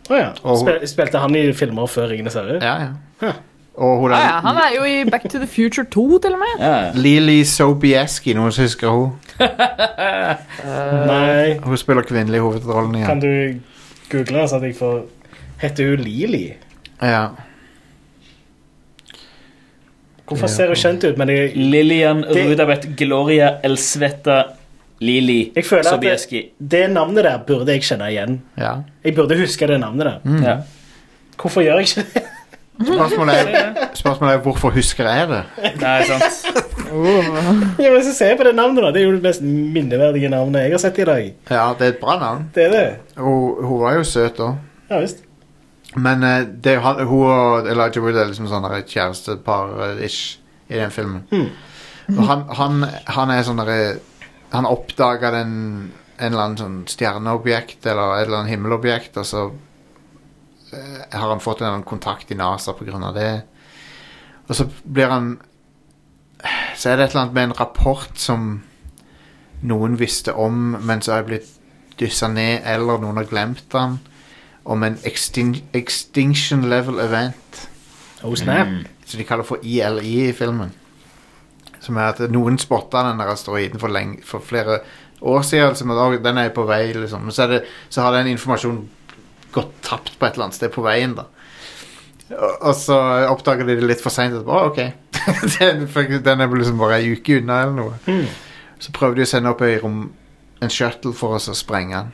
Speaker 3: Å ja.
Speaker 2: Og-
Speaker 3: Spil, spilte han i filmer før 'Ringenes herre'?
Speaker 2: Ja, ja.
Speaker 3: Huh.
Speaker 2: Og hun
Speaker 1: Ja, Ah, ja, han
Speaker 2: der
Speaker 1: er jo i Back to the Future 2, til og med.
Speaker 4: Ja.
Speaker 2: Lily Sobieski, noen som husker hun.
Speaker 3: Nei.
Speaker 2: Hun spiller kvinnelig i hovedrollen
Speaker 3: Kan
Speaker 2: igjen.
Speaker 3: du google sånn at jeg får Heter hun Lili?
Speaker 2: Ja.
Speaker 3: Hvorfor ser hun kjent ut? Men jeg,
Speaker 4: Lillian
Speaker 3: Det-
Speaker 4: Rudabeth Gloria Elsveta Lili
Speaker 3: jeg føler at det,
Speaker 4: Sobieski.
Speaker 3: det navnet der burde jeg kjenne igjen.
Speaker 2: ja.
Speaker 3: Jeg burde huske det navnet der.
Speaker 2: Mm.
Speaker 4: Ja.
Speaker 3: Hvorfor gjør jeg ikke det?
Speaker 2: Spørsmålet, er, spørsmålet er hvorfor husker jeg det?
Speaker 4: Nei, sant.
Speaker 2: Oh.
Speaker 3: Ja, men så ser jeg på det navnet da Det er jo det mest minneverdige navnet jeg har sett i dag.
Speaker 2: Ja, det er et bra navn.
Speaker 3: Det er det.
Speaker 2: Hun, hun var jo søt òg.
Speaker 3: Ja visst.
Speaker 2: Men eh, det, er han, hun og Elijah Wood er liksom sånn der kjærestepar-ish i den filmen. Og han, han, han er sånn derre Han oppdaga den en eller annen sånn stjerneobjekt eller et eller annet himmelobjekt, og så eh, har han fått en eller annen kontakt i NASA på grunn av det. Og så blir han Så er det et eller annet med en rapport som noen visste om, men så er blitt dyssa ned, eller noen har glemt den om en extin extinction level event,
Speaker 3: Oh snap.
Speaker 4: Mm.
Speaker 2: som de kaller for ILI i filmen. Som er at noen spotta den der asteroiden for, lenge, for flere år siden. Som at «Å, den er på vei, liksom. Men Så, er det, så har den informasjonen gått tapt på et eller annet sted på veien, da. Og, og så oppdager de det litt for seint etterpå. Å, ok. den, faktisk- den er vel liksom bare ei uke unna, eller noe.
Speaker 3: Mm.
Speaker 2: Så prøvde de å sende opp ei rom, en shuttle for oss å sprenge den.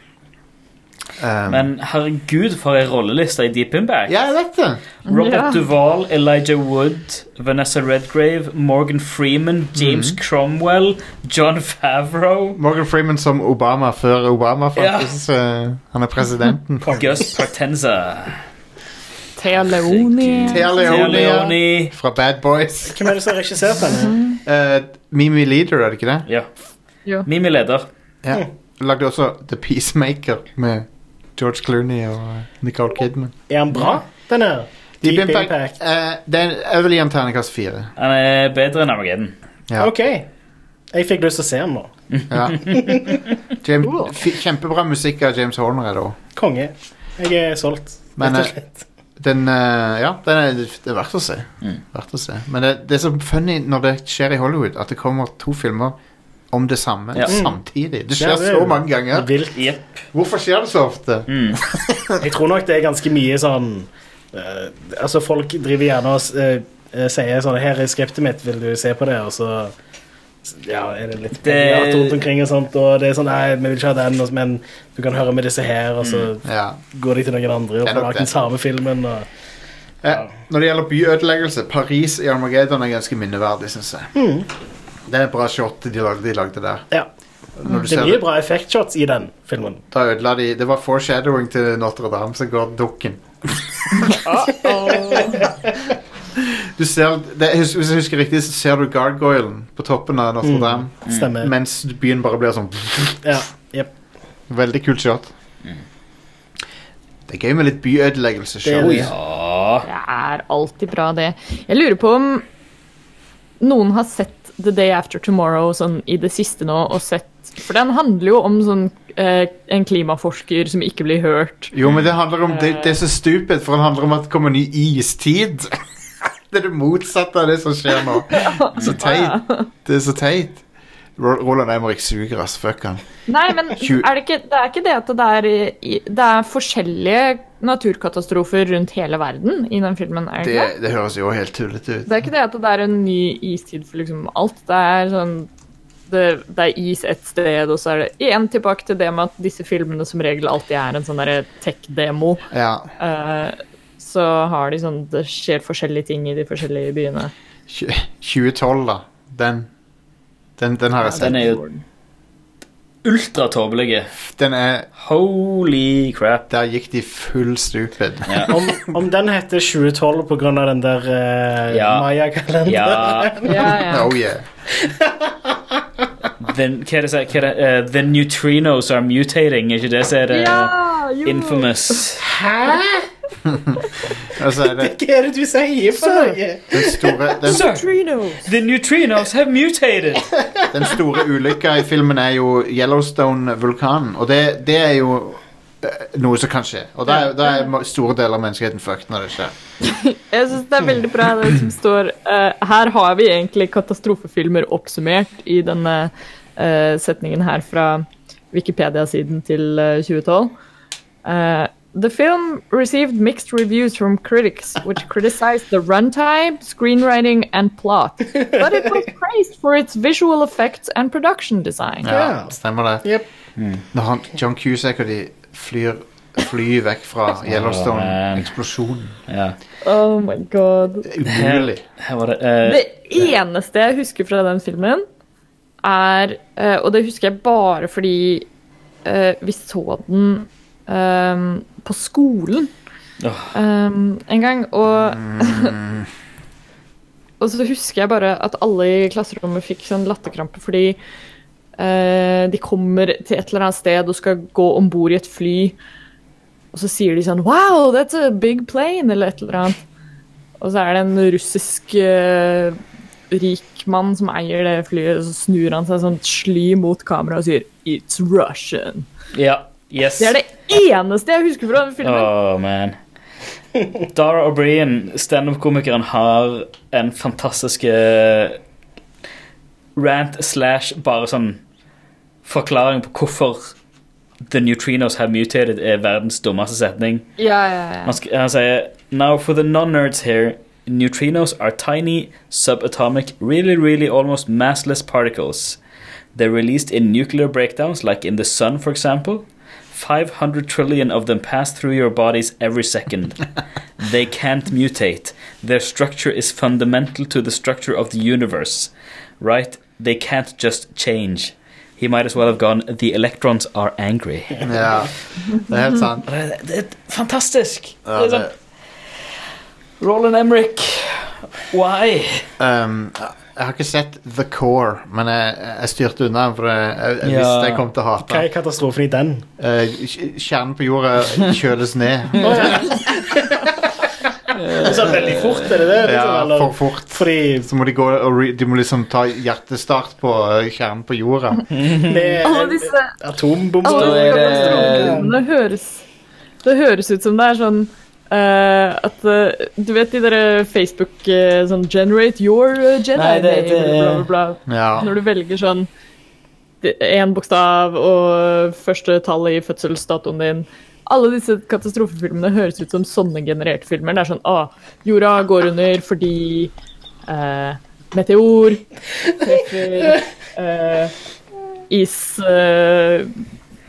Speaker 2: Um,
Speaker 4: Men herregud, for ei rolleliste i Deep Impact.
Speaker 2: Ja, jeg vet det!
Speaker 4: Robert
Speaker 1: Ja.
Speaker 4: Duvall, Elijah Wood, Vanessa Redgrave, Morgan Freeman, James
Speaker 3: Mm.
Speaker 4: Cromwell, John Favreau,
Speaker 2: Morgan Freeman som Obama før Obama, faktisk. Eh, han er presidenten.
Speaker 4: Gus Partenza,
Speaker 1: Thea Leoni.
Speaker 2: Thea
Speaker 4: Thea
Speaker 2: Leone ja.
Speaker 4: Leoni
Speaker 2: fra Bad Boys.
Speaker 3: Hvem er det som har regissert denne?
Speaker 2: Eh, Mimi Leader, er det ikke det?
Speaker 4: ja.
Speaker 1: Jo.
Speaker 4: Mimi leder.
Speaker 2: Ja. Lagde også The Peacemaker med George Clooney og eh, Nicole Kidman.
Speaker 3: Er han bra, den her?
Speaker 2: Deep Impact. eh, det er en- jeg vil gi en terningkast fire.
Speaker 4: Han er bedre enn Armageddon.
Speaker 2: Ja.
Speaker 3: Ok. Jeg fikk lyst til å se den nå.
Speaker 2: Ja. James, fi- kjempebra musikk av James Horner er det òg.
Speaker 3: Konge. Jeg er solgt.
Speaker 2: Men,
Speaker 3: rett og
Speaker 2: eh,
Speaker 3: slett.
Speaker 2: Den, eh, ja, den er, det er verdt å se. Verdt å se. Men det, det er så funny når det skjer i Hollywood, at det kommer to filmer om det samme
Speaker 4: Ja.
Speaker 2: samtidig. Det skjer
Speaker 3: Ja, det er
Speaker 2: så
Speaker 3: jo
Speaker 2: mange ganger.
Speaker 3: Vilt.
Speaker 4: Jep.
Speaker 2: Hvorfor skjer det så ofte?
Speaker 4: Mm.
Speaker 3: Jeg tror nok det er ganske mye sånn eh, Altså, folk driver gjerne og s- eh, eh, sier sånn Her er skriptet mitt, vil du se på det? Og så ja, er det litt
Speaker 4: Det-
Speaker 3: plagiat rundt omkring og sånt, og det er sånn Nei, vi vil ikke ha den, og så- men du kan høre med disse her, og så
Speaker 2: Ja.
Speaker 3: går de til noen andre
Speaker 2: Mm. Det er
Speaker 3: og får
Speaker 2: nok
Speaker 3: lagd
Speaker 2: det.
Speaker 3: den samme filmen, og
Speaker 2: Eh, når det gjelder byødeleggelse, Paris i Armageddon er ganske minneverdig, syns jeg.
Speaker 3: Mm.
Speaker 2: Det er et bra shot de lagde, de lagde der.
Speaker 3: Ja.
Speaker 2: Når du
Speaker 3: Det
Speaker 2: ser
Speaker 3: er
Speaker 2: det,
Speaker 3: mye bra effektshots i den filmen.
Speaker 2: da ødela de Det var foreshadowing til Notre-Dame som går dukken. Du ser, det, hus- hvis jeg husker riktig, så ser du gargoylen på toppen av Notre-Dame.
Speaker 3: Stemmer.
Speaker 2: Mens byen bare blir sånn
Speaker 3: Ja, jep.
Speaker 2: Veldig kult shot. Det er gøy med litt byødeleggelse.
Speaker 3: Det er
Speaker 2: show.
Speaker 3: det.
Speaker 4: Ja.
Speaker 1: Det er alltid bra, det. Jeg lurer på om noen har sett The Day After Tomorrow sånn i det siste nå, og sett For den handler jo om sånn eh, en klimaforsker som ikke blir hørt.
Speaker 2: Jo, men det handler om det, det er så stupid, for det handler om at det kommer en ny istid. det er det motsatte av det som skjer nå. Så
Speaker 1: Ah,
Speaker 2: teit. Det er så teit. Ro- Roland Emrik suger, ass. Fuck han.
Speaker 1: Nei, men
Speaker 2: Tju-
Speaker 1: er det, ikke, det er ikke det at det er, i- det er forskjellige naturkatastrofer rundt hele verden i den filmen? er det
Speaker 2: Det,
Speaker 1: ikke det?
Speaker 2: det høres jo helt tullete ut.
Speaker 1: Det er ikke det at det er en ny istid for liksom alt. Det er sånn det, det er is et sted, og så er det igjen tilbake til det med at disse filmene som regel alltid er en sånn derre tech-demo.
Speaker 2: Ja.
Speaker 1: Eh, så har de sånn Det skjer forskjellige ting i de forskjellige byene.
Speaker 2: Tju- 2012, da. Den. Den, den har jeg sett.
Speaker 4: Den er jo ultratåpelig.
Speaker 2: Den er
Speaker 4: Holy crap.
Speaker 2: Der gikk de full stupid.
Speaker 3: Om, om den heter 2012 på grunn av den der eh,
Speaker 4: Ja.
Speaker 3: Maya-kalenderen
Speaker 4: Ja.
Speaker 1: Ja, ja.
Speaker 2: Oh yeah.
Speaker 4: The, hva er det, som- hva er det, eh, the neutrinos are mutating, er ikke det som er det
Speaker 1: jo.
Speaker 4: infamous?
Speaker 2: Altså, er det
Speaker 3: Hva er det du sier for noe?
Speaker 2: den store, den,
Speaker 4: Sir,
Speaker 1: Neutrinos.
Speaker 4: the neutrinos have mutated!
Speaker 2: den store ulykka i filmen er jo Yellowstone-vulkanen, og det, det er jo eh, noe som kan skje. Og da er, da er ma- store deler av menneskeheten fucked når det skjer.
Speaker 1: Jeg syns det er veldig bra det som står eh, Her har vi egentlig katastrofefilmer oppsummert i denne eh, setningen her fra Wikipedia-siden til eh, 2012. Eh, the film received mixed reviews from critics, which criticized the runtime, screenwriting and plot. But it was praised for its visual effects and production design.
Speaker 2: Ja,
Speaker 3: Ja.
Speaker 2: stemmer det.
Speaker 3: Jep.
Speaker 2: Når han, John Cusack og de flyr fly vekk fra
Speaker 4: man.
Speaker 2: Yellowstone-eksplosjonen.
Speaker 4: Ja.
Speaker 1: Oh my god.
Speaker 2: Umulig.
Speaker 4: Her var det eh,
Speaker 1: Det eneste jeg husker fra den filmen, er eh, Og det husker jeg bare fordi eh, vi så den ehm, på skolen
Speaker 4: Åh.
Speaker 1: ehm, en gang, og Og så husker jeg bare at alle i klasserommet fikk sånn latterkrampe fordi eh, de kommer til et eller annet sted og skal gå om bord i et fly, og så sier de sånn Wow, that's a big plane! eller et eller annet. Og så er det en russisk eh, rik mann som eier det flyet, og så snur han seg sånn sly mot kameraet og sier It's Russian.
Speaker 4: Ja. Yes.
Speaker 1: Det er det eneste jeg husker fra den filmen.
Speaker 4: Oh, man. Dara O'Brien, standup-komikeren, har en fantastisk eh, rant slash bare sånn forklaring på hvorfor The Neutrinos Have Mutated er verdens dummeste setning.
Speaker 1: Ja, ja,
Speaker 4: Han,
Speaker 1: ja.
Speaker 4: sk han sier uh, Now for the non-nerds here Neutrinos are tiny, subatomic, really, really almost massless particles. They're released in nuclear breakdowns, like in the sun, for example. 500 trillion of them pass through your bodies every second. they can't mutate. Their structure is fundamental to the structure of the universe. Right? They can't just change. He might as well have gone, the electrons are angry.
Speaker 2: Ja, det er helt sant.
Speaker 4: Det, er- det er fantastisk!
Speaker 2: Ja,
Speaker 4: det er sånn,
Speaker 2: det,
Speaker 4: Roland Emmerich, why?
Speaker 2: um, jeg har ikke sett The Core, men jeg, jeg styrte unna, den, for jeg, jeg, jeg
Speaker 4: Ja.
Speaker 2: visste jeg kom til å hate den.
Speaker 3: Hva er katastrofen i den?
Speaker 2: Eh, kj- kjernen på jorda kjøles ned.
Speaker 3: liksom veldig fort, er det det? Liksom,
Speaker 2: Ja,
Speaker 3: eller-
Speaker 2: for fort.
Speaker 3: Fordi
Speaker 2: Så må de gå og re, de må liksom ta hjertestart på eh, kjernen på jorda.
Speaker 3: med
Speaker 1: Alle disse
Speaker 3: atombomber
Speaker 1: Alle
Speaker 6: Da er det-
Speaker 1: det... høres Det høres ut som det er sånn eh, at eh, Du vet de derre Facebook eh, sånn Generate your eh, Jedi
Speaker 6: Nei, det- det-
Speaker 1: name, bla, bla, bla.
Speaker 2: Ja.
Speaker 1: Når du velger sånn én bokstav og første tall i fødselsdatoen din Alle disse katastrofefilmene høres ut som sånne genererte filmer. Det er sånn Å, jorda går under fordi eh, meteor treffer eh, is eh,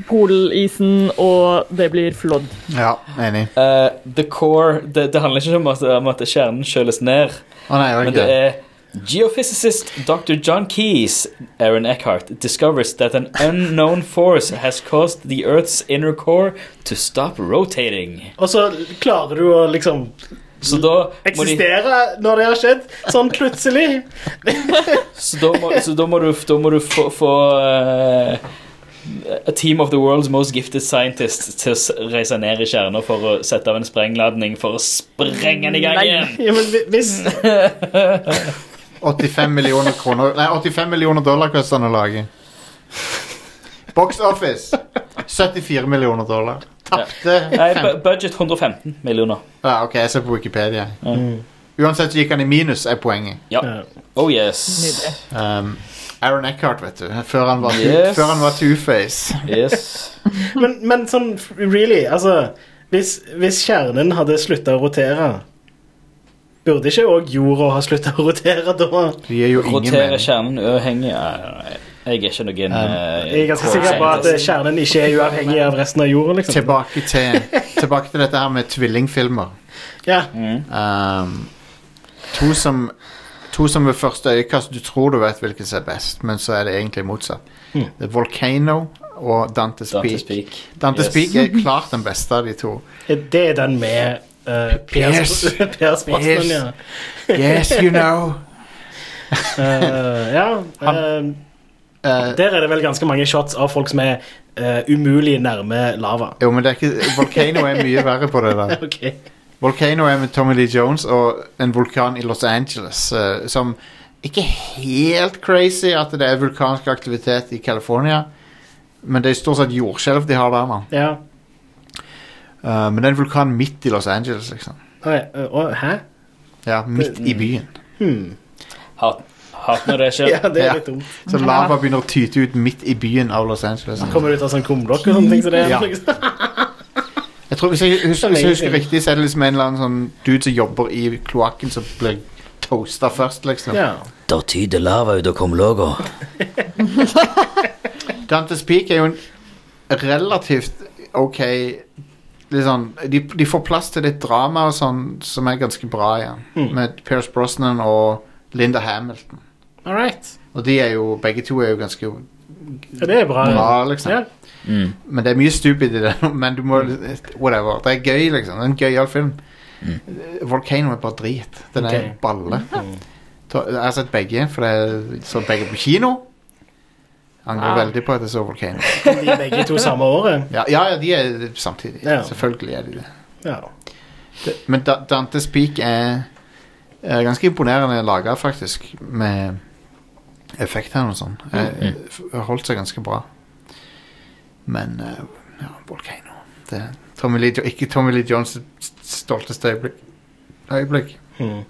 Speaker 1: Polisen, og det blir flodd.
Speaker 2: ja, enig.
Speaker 6: Eh, the core det, det handler ikke om at, om at kjernen kjøles ned,
Speaker 2: Å nei, det var
Speaker 6: men
Speaker 2: ikke
Speaker 6: det
Speaker 2: det.
Speaker 6: er Geophysicist Dr. John Keyes, Aaron Eckhart, discovers that an unknown force has caused the Earth's inner core to stop rotating.
Speaker 3: Og så klarer du å liksom
Speaker 6: Så da må, de,
Speaker 3: eksistere når det har skjedd, sånn plutselig.
Speaker 6: så da må, så da må du, da må du få, få eh, A team of the world's most gifted scientists til å s- reise ned i kjerner for å sette av en sprengladning for å sprenge den i gang
Speaker 1: Nei.
Speaker 6: igjen.
Speaker 3: Ja, men hvi- hvis
Speaker 2: 85 millioner kroner Nei, 85 millioner dollar koster den å lage. Box Office 74 millioner dollar. Tapte
Speaker 6: Nei,
Speaker 2: fem-
Speaker 6: bu- budget 115 millioner.
Speaker 2: Ja, OK, Ah, jeg ser på Wikipedia.
Speaker 3: Mm.
Speaker 2: Uansett så gikk han i minus, er poenget.
Speaker 3: Ja.
Speaker 6: Oh yes.
Speaker 1: Nydelig.
Speaker 2: Um, Aaron Eckhart, vet du. Før han var, tu-
Speaker 6: Yes.
Speaker 2: før han var Two-Face.
Speaker 6: yes.
Speaker 3: Men, men sånn really, altså Hvis, hvis kjernen hadde slutta å rotere, burde ikke òg jorda ha slutta å rotere da?
Speaker 2: De gir jo ingen
Speaker 6: Rotere
Speaker 2: mening.
Speaker 6: kjernen uavhengig av Jeg er ikke noen eh,
Speaker 3: Jeg er ganske sikker på at eh, kjernen ikke er uavhengig av resten av jorda, liksom.
Speaker 2: Tilbake til, tilbake til dette her med tvillingfilmer.
Speaker 3: Ja.
Speaker 6: Mm.
Speaker 2: Um, to som To som ved første øyekast du tror du vet hvilken som er best, men så er det egentlig motsatt. Det er Volcano og Dantes,
Speaker 6: Dante's
Speaker 2: Peak.
Speaker 6: Peak.
Speaker 2: Dantes
Speaker 6: Yes.
Speaker 2: Peak er klart den beste av de to.
Speaker 3: Det er den med eh,
Speaker 2: Pierce.
Speaker 3: Per Per Brosnan, ja.
Speaker 2: Yes, you know.
Speaker 3: Eh, ja eh,
Speaker 2: Uh,
Speaker 3: der er det vel ganske mange shots av folk som er eh, umulig nærme lava.
Speaker 2: jo, men det er ikke Volcano er mye verre på det der.
Speaker 3: Ok.
Speaker 2: Volcano er med Tommy Lee Jones og en vulkan i Los Angeles eh, som ikke helt crazy at det er vulkansk aktivitet i California, men det er stort sett jordskjelv de har der nå.
Speaker 3: Ja.
Speaker 2: Eh, men det er en vulkan midt i Los Angeles, liksom.
Speaker 3: Oi, eh, å, hæ?
Speaker 2: Ja, midt i byen.
Speaker 3: Hmm.
Speaker 6: Hat, hat når det skjer.
Speaker 3: Ja, det
Speaker 2: Ja.
Speaker 3: er litt dumt.
Speaker 2: Så lava begynner å tyte ut midt i byen av Los Angeles.
Speaker 3: Kommer det ut av sånn kumlokk og sånne ting? Så det er,
Speaker 2: Ja.
Speaker 3: liksom-
Speaker 2: Jeg tror, hvis, jeg husker, hvis jeg husker riktig, så er det liksom en eller annen sånn dude som jobber i kloakken, som blir toasta først, liksom.
Speaker 3: Ja.
Speaker 5: Der tyder lava ut av kumlokka.
Speaker 2: Dantes Peak er jo en relativt ok liksom, de, de får plass til litt drama og sånn som er ganske bra igjen.
Speaker 3: Mm.
Speaker 2: Med Pierce Brosnan og Linda Hamilton.
Speaker 3: All right.
Speaker 2: Og de er jo, begge to er jo ganske
Speaker 3: Ja, det er bra.
Speaker 2: bra, liksom.
Speaker 3: Ja.
Speaker 6: Mm.
Speaker 2: Men det er mye stupid i det. Men du må Whatever. Det er gøy, liksom. Det er en gøyal film. Volcano er bare drit. Den er
Speaker 3: Ok. Mm.
Speaker 2: en balle. Ta- Jeg har sett begge, for jeg så begge på kino. Angrer
Speaker 1: Wow.
Speaker 2: veldig på at jeg så Volcano.
Speaker 3: Kom de begge to samme året?
Speaker 2: Ja, ja, ja, de er samtidig.
Speaker 3: Ja.
Speaker 2: Selvfølgelig er de det.
Speaker 3: Ja.
Speaker 2: det men da, Dantes Peak er, er ganske imponerende laga, faktisk. Med effektene og sånn. Eh, f- Holdt seg ganske bra. Men eh, ja, Volcano det, er Tommy Lee, Jo- Ikke Tommy Lee Jones' stolteste øyeblikk. øyeblikk.
Speaker 3: Hmm.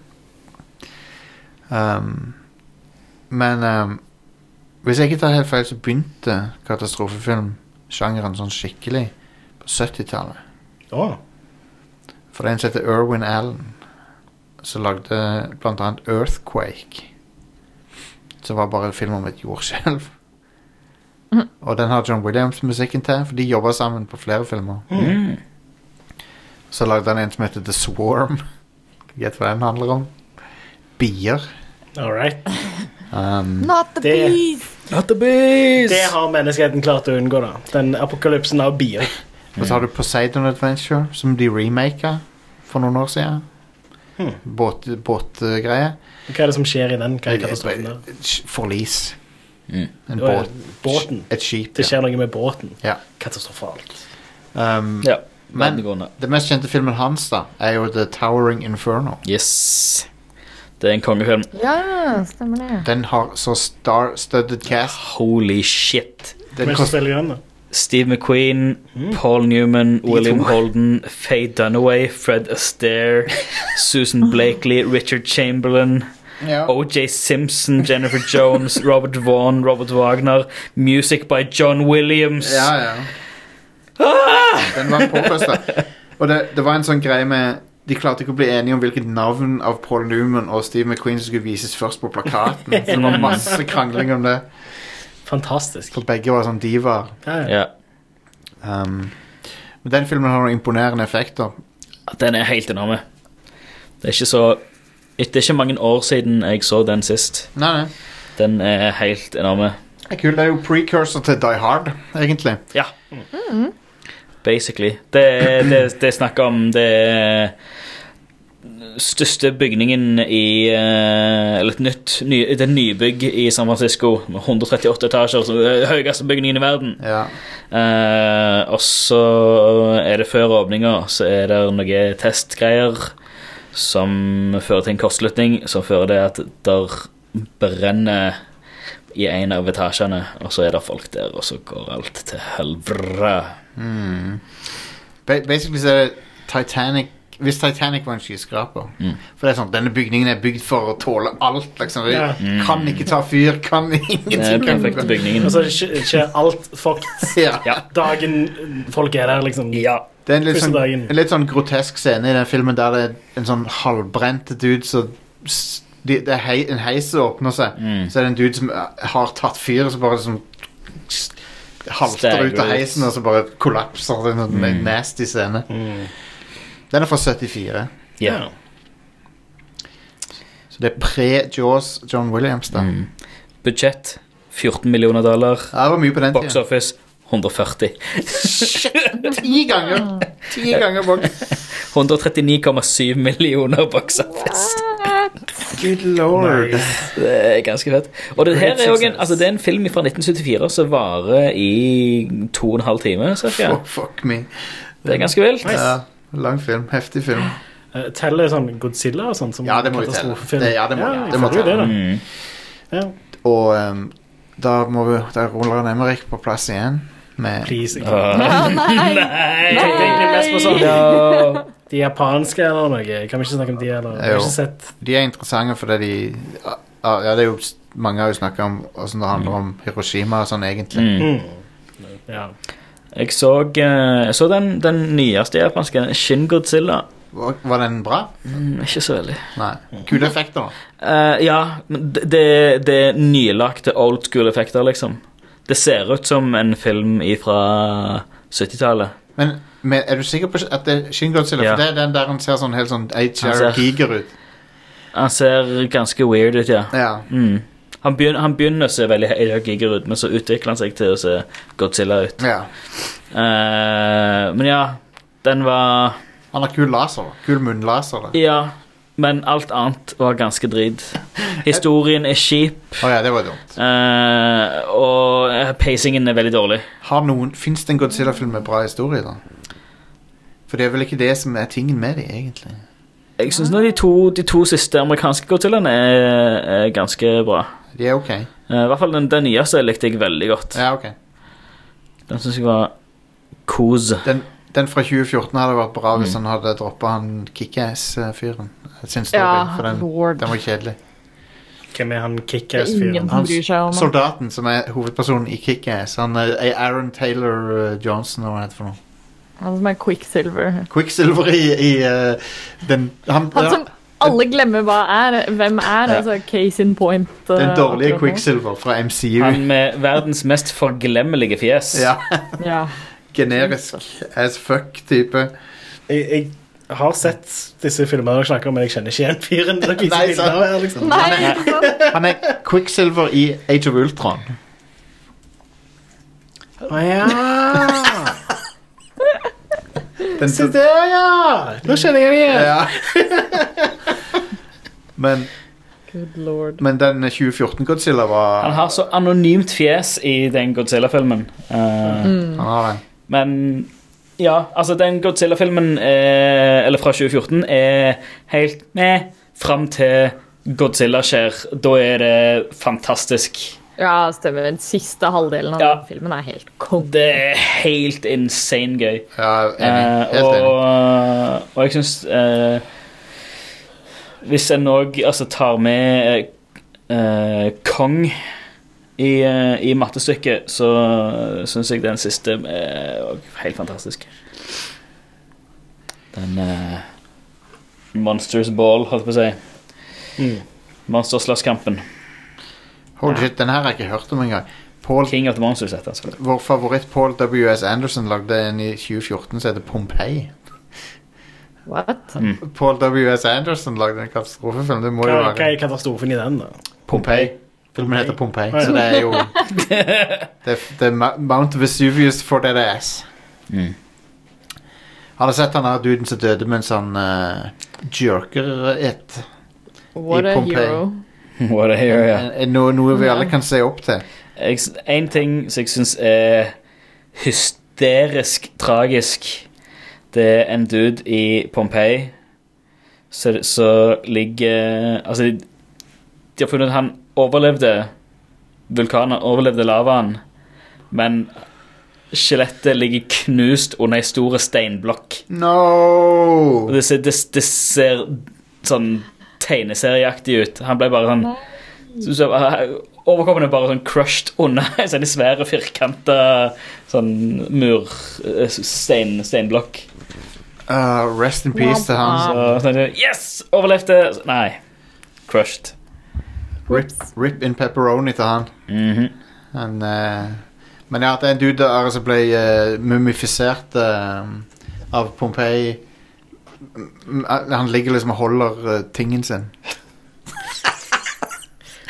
Speaker 2: Um, men um, hvis jeg ikke tar helt feil, så begynte katastrofefilmsjangeren sånn skikkelig på 70-tallet.
Speaker 3: Å,
Speaker 2: For det er en som heter Irwin Allen, som lagde blant annet Earthquake. Som var bare en film om et jordskjelv. Og den har John Williams musikken til, for de jobber sammen på flere filmer.
Speaker 6: Mm.
Speaker 2: Så lagde han en som heter The Swarm. Gjett hva den handler om. Bier.
Speaker 3: all right.
Speaker 2: Um,
Speaker 1: Not the
Speaker 3: Det-
Speaker 1: bees!
Speaker 6: Not the bees!
Speaker 3: Det har menneskeheten klart å unngå, da. Den apokalypsen av bier.
Speaker 2: Og så har du Poseidon Adventure, som de remaka for noen år siden.
Speaker 3: Hmm.
Speaker 2: Båt- Båtgreie.
Speaker 3: Hva er det som skjer i den? Hva er katastrofen der?
Speaker 2: Forlis.
Speaker 6: Mm.
Speaker 2: En
Speaker 3: Å, ja,
Speaker 2: båt.
Speaker 3: Båten.
Speaker 2: Et skip.
Speaker 3: Det skjer noe med båten.
Speaker 2: Ja.
Speaker 3: Katastrofalt.
Speaker 2: Um,
Speaker 6: Ja.
Speaker 2: Men
Speaker 4: Verdengående.
Speaker 2: den mest kjente filmen hans da er jo The Towering Inferno.
Speaker 4: Yes. Det er en kongefilm.
Speaker 1: Ja, stemmer det.
Speaker 2: Den har så star-studded cast.
Speaker 4: Holy shit.
Speaker 2: Den
Speaker 3: Men så
Speaker 2: kost,
Speaker 3: spiller jeg den, da.
Speaker 4: Steve McQueen, Paul Newman, William Holden, Faye Dunaway, Fred Astaire, Susan Blakely, Richard Chamberlain,
Speaker 2: ja.
Speaker 4: O.J. Simpson, Jennifer Jones, Robert Vaughn, Robert Wagner, music by John Williams.
Speaker 2: ja, ja. Den var påkosta. Og det, det var en sånn greie med De klarte ikke å bli enige om hvilket navn av Paul Newman og Steve McQueen som skulle vises først på plakaten. Så det var masse krangling om det.
Speaker 3: Fantastisk.
Speaker 2: For begge var sånn divaer.
Speaker 3: Ja, ja.
Speaker 4: Ja.
Speaker 2: Um, men den filmen har noen imponerende effekter.
Speaker 4: Den er helt enorme. Det er ikke så Det er ikke mange år siden jeg så den sist.
Speaker 2: Nei, nei.
Speaker 4: Den er helt enorme.
Speaker 2: Det er kult. Det er jo precursor til Die Hard, egentlig.
Speaker 4: Ja. Basically. Det er, det, det er snakk om det er største bygningen i eh, Eller et nytt ny, Det er nybygg i San Francisco med 138 etasjer. Så det er den høyeste bygningen i verden.
Speaker 2: Ja.
Speaker 4: Eh, og så er det før åpninga, så er det noen testgreier som fører til en kortslutning, som fører til at der brenner i en av etasjene, og så er det folk der, og så går alt til helvete.
Speaker 2: Hmm. Ba- Basically så er det Titanic Hvis Titanic var en skyskraper
Speaker 4: Mm.
Speaker 2: For det er sånn, denne bygningen er bygd for å tåle alt liksom. Det
Speaker 3: Ja.
Speaker 4: Mm.
Speaker 2: Kan ikke ta fyr, kan
Speaker 4: Det er den
Speaker 2: ingenting
Speaker 4: perfekte bygningen.
Speaker 3: Og så er ikke, ikke alt fucked
Speaker 2: Mm. ja.
Speaker 4: Ja.
Speaker 3: dagen folk er der, liksom.
Speaker 4: Ja.
Speaker 2: Det er en litt,
Speaker 3: Første
Speaker 2: sånn,
Speaker 3: dagen.
Speaker 2: en litt sånn grotesk scene i den filmen Der det er en sånn halvbrent dude Så s- de- det er hei, en heis som åpner seg
Speaker 4: Mm.
Speaker 2: Så er det en dude som eh, har tatt fyr Så bare liksom s- Halter
Speaker 4: Stagger
Speaker 2: ut av
Speaker 4: ut.
Speaker 2: heisen Og så bare kollapser Det er en sånn
Speaker 4: Mm.
Speaker 2: nasty scene
Speaker 3: Mm.
Speaker 2: Den er fra 74
Speaker 4: ja.
Speaker 2: Så det er pre-Jaws John Williams da
Speaker 4: Mm. Budsjett 14 millioner dollar.
Speaker 2: Ja, det var mye på den
Speaker 4: Box
Speaker 2: tiden.
Speaker 4: office 140.
Speaker 2: Ti ganger! Ti ganger boks.
Speaker 4: 139,7 millioner box office.
Speaker 2: Good lord.
Speaker 4: Det er ganske fett. Og det her
Speaker 3: Great
Speaker 4: er jo en,
Speaker 3: success.
Speaker 4: altså det er en film fra 1974 som varer i to og en halv time. Cirka.
Speaker 2: Fuck, fuck me.
Speaker 4: Det er ganske vilt.
Speaker 3: Nice.
Speaker 2: Ja, lang film. Heftig film.
Speaker 3: Eh, Teller sånn Godzilla og sånn som
Speaker 2: Ja, det må vi telle.
Speaker 3: katastrofefilm?
Speaker 2: Det- ja, det må-
Speaker 3: jeg
Speaker 2: det må
Speaker 3: føler jo
Speaker 2: telle.
Speaker 3: det,
Speaker 4: Mm.
Speaker 3: da. Ja.
Speaker 2: Og ehm, da må vi Da er Roland Emmerich på plass igjen. Med
Speaker 3: Please. ikke.
Speaker 4: Uh,
Speaker 3: Jeg tenkte egentlig mest på sånn
Speaker 4: no.
Speaker 3: De japanske eller noe. Kan vi ikke snakke om de, eller? Jeg har
Speaker 2: Jo.
Speaker 3: ikke sett
Speaker 2: De er interessante fordi de ah, ah, Ja, det er jo s- mange har jo snakka om åssen det handler om Hiroshima og sånn, egentlig.
Speaker 3: mm.
Speaker 4: Mm.
Speaker 3: Ja.
Speaker 4: Jeg så, eh, jeg så den, den nyeste japanske, Shin Godzilla.
Speaker 2: Var var den bra?
Speaker 4: Mm, ikke så veldig.
Speaker 2: Nei. Kule effekter, da.
Speaker 4: Eh, ja, men det, det- det er nylagte old school-effekter, liksom. Det ser ut som en film fra 70-tallet.
Speaker 2: Men men er du sikker på at det er Shin Godzilla?
Speaker 4: Ja.
Speaker 2: For det er den der han ser sånn helt sånn H.R.
Speaker 4: ser-
Speaker 2: Giger ut.
Speaker 4: Han ser ganske weird ut, ja.
Speaker 2: Ja.
Speaker 4: Mm. Han, begynner, han begynner å se veldig H.R. Giger ut, men så utvikler han seg til å se Godzilla ut.
Speaker 2: ja.
Speaker 4: Eh, men ja, den var
Speaker 2: Han har kul laser. da. Kul munnlaser. da.
Speaker 4: Ja, men alt annet var ganske drit. Historien er kjip,
Speaker 2: Å ja, det var dumt.
Speaker 4: eh, og eh, pacingen er veldig dårlig.
Speaker 2: Har noen, finnes det en Godzilla-film med bra historie da? For det er vel ikke det som er tingen med det, egentlig.
Speaker 4: Jeg syns de, to- de to siste amerikanske Godzillaene er, er ganske bra.
Speaker 2: De er ok.
Speaker 4: Eh, I hvert fall den, den nyeste likte jeg veldig godt.
Speaker 2: Ja, ok.
Speaker 4: Den syns jeg var kos.
Speaker 2: Den, den fra 2014 hadde vært bra hvis han hadde droppet han kickass-fyren. Sin story,
Speaker 1: Ja,
Speaker 2: for den,
Speaker 1: lord.
Speaker 2: den var kjedelig.
Speaker 3: Hvem er han
Speaker 1: Det er ingen
Speaker 3: kickass-fyren?
Speaker 1: som bryr seg om det.
Speaker 2: Soldaten som er hovedpersonen i kickass, han er er Aaron Taylor eh, Johnson, eller hva han heter for noe.
Speaker 1: Han som er Quicksilver.
Speaker 2: Quicksilver i, i eh, den, han,
Speaker 1: Han som alle glemmer hva er. Hvem er,
Speaker 2: Ja.
Speaker 1: altså case in point. eh,
Speaker 2: den dårlige
Speaker 1: akkurat nå.
Speaker 2: Quicksilver fra MCU.
Speaker 4: Han med verdens mest forglemmelige fjes.
Speaker 2: Ja,
Speaker 1: Ja.
Speaker 2: generisk as fuck-type.
Speaker 3: Jeg, jeg har sett disse filmene dere snakker om, men jeg kjenner ikke igjen fyren. dere viser
Speaker 2: Nei,
Speaker 3: bilder
Speaker 2: sant.
Speaker 3: av her, liksom.
Speaker 1: Nei,
Speaker 4: Eh,
Speaker 1: ikke sant?
Speaker 2: Han er Quicksilver i Age of Ultron.
Speaker 3: Å ja.
Speaker 2: Den,
Speaker 3: Se der, ja! Nå kjenner jeg det igjen.
Speaker 2: Ja. men,
Speaker 1: Good lord.
Speaker 2: men den 2014-Godzilla var
Speaker 4: Han har så
Speaker 2: Mm.
Speaker 4: anonymt fjes i den Godzilla-filmen. Eh,
Speaker 2: han har den.
Speaker 4: Men Ja, altså den Godzilla-filmen, eh, eller fra 2014, er helt med fram til Godzilla skjer. Da er det fantastisk.
Speaker 1: Ja, stemmer. Den siste halvdelen av
Speaker 4: Ja.
Speaker 1: den filmen er helt konge.
Speaker 4: Det er helt insane gøy.
Speaker 2: Ja, enig.
Speaker 4: Eh,
Speaker 2: Helt
Speaker 4: og,
Speaker 2: enig.
Speaker 4: og jeg syns eh, Hvis en òg altså, tar med eh, Kong i, eh, i mattestykket, så syns jeg den siste er òg helt fantastisk. Den eh, Monsters Ball, holdt jeg på å si.
Speaker 3: Mm.
Speaker 4: Monsterslåsskampen.
Speaker 2: Holy shit, den her har jeg ikke hørt om engang. Paul,
Speaker 4: King of the Monsters, heter den. selvfølgelig.
Speaker 2: vår favoritt Paul W.S. Anderson lagde en i 2014 som heter Pompeii.
Speaker 1: What?
Speaker 4: Mm.
Speaker 2: Paul W.S. Anderson lagde en katastrofefilm. Det må jo
Speaker 3: Hva, hva
Speaker 2: være
Speaker 3: er katastrofen i den, da?
Speaker 2: Pompeii. Filmen heter Pompeii,
Speaker 3: Ja, ja.
Speaker 2: så det er jo Det er, det er Ma- Mount Vesuvius for dead ass.
Speaker 5: Mm.
Speaker 2: Har du sett han her duden som døde mens han eh, jerker et?
Speaker 1: What
Speaker 2: I
Speaker 1: a
Speaker 2: Pompeii.
Speaker 1: hero.
Speaker 4: What a hero, ja.
Speaker 2: Eh, Noe, noe vi alle kan se opp til.
Speaker 4: Jeg, en ting som jeg syns er hysterisk tragisk, det er en dude i Pompeii som som ligger Altså, de, de har funnet at han overlevde vulkanen, overlevde lavaen, men skjelettet ligger knust under ei stor steinblokk.
Speaker 2: No!
Speaker 4: Og det ser, det, det ser sånn tegneserieaktig ut. Han ble bare sånn så, så, Overkroppen er bare sånn crushed under en sånn svære, firkanta sånn mur eh, stein, Steinblokk.
Speaker 2: Ah, rest in peace til han.
Speaker 4: Så, sånn, yes! Overlevde! Så, Nei. Crushed.
Speaker 2: Rip, rip in pepperoni til han.
Speaker 4: Mhm.
Speaker 2: han eh, men ja, det er en dude der som ble eh, mumifisert eh, av Pompeii. M- Han ligger liksom og holder eh, tingen sin.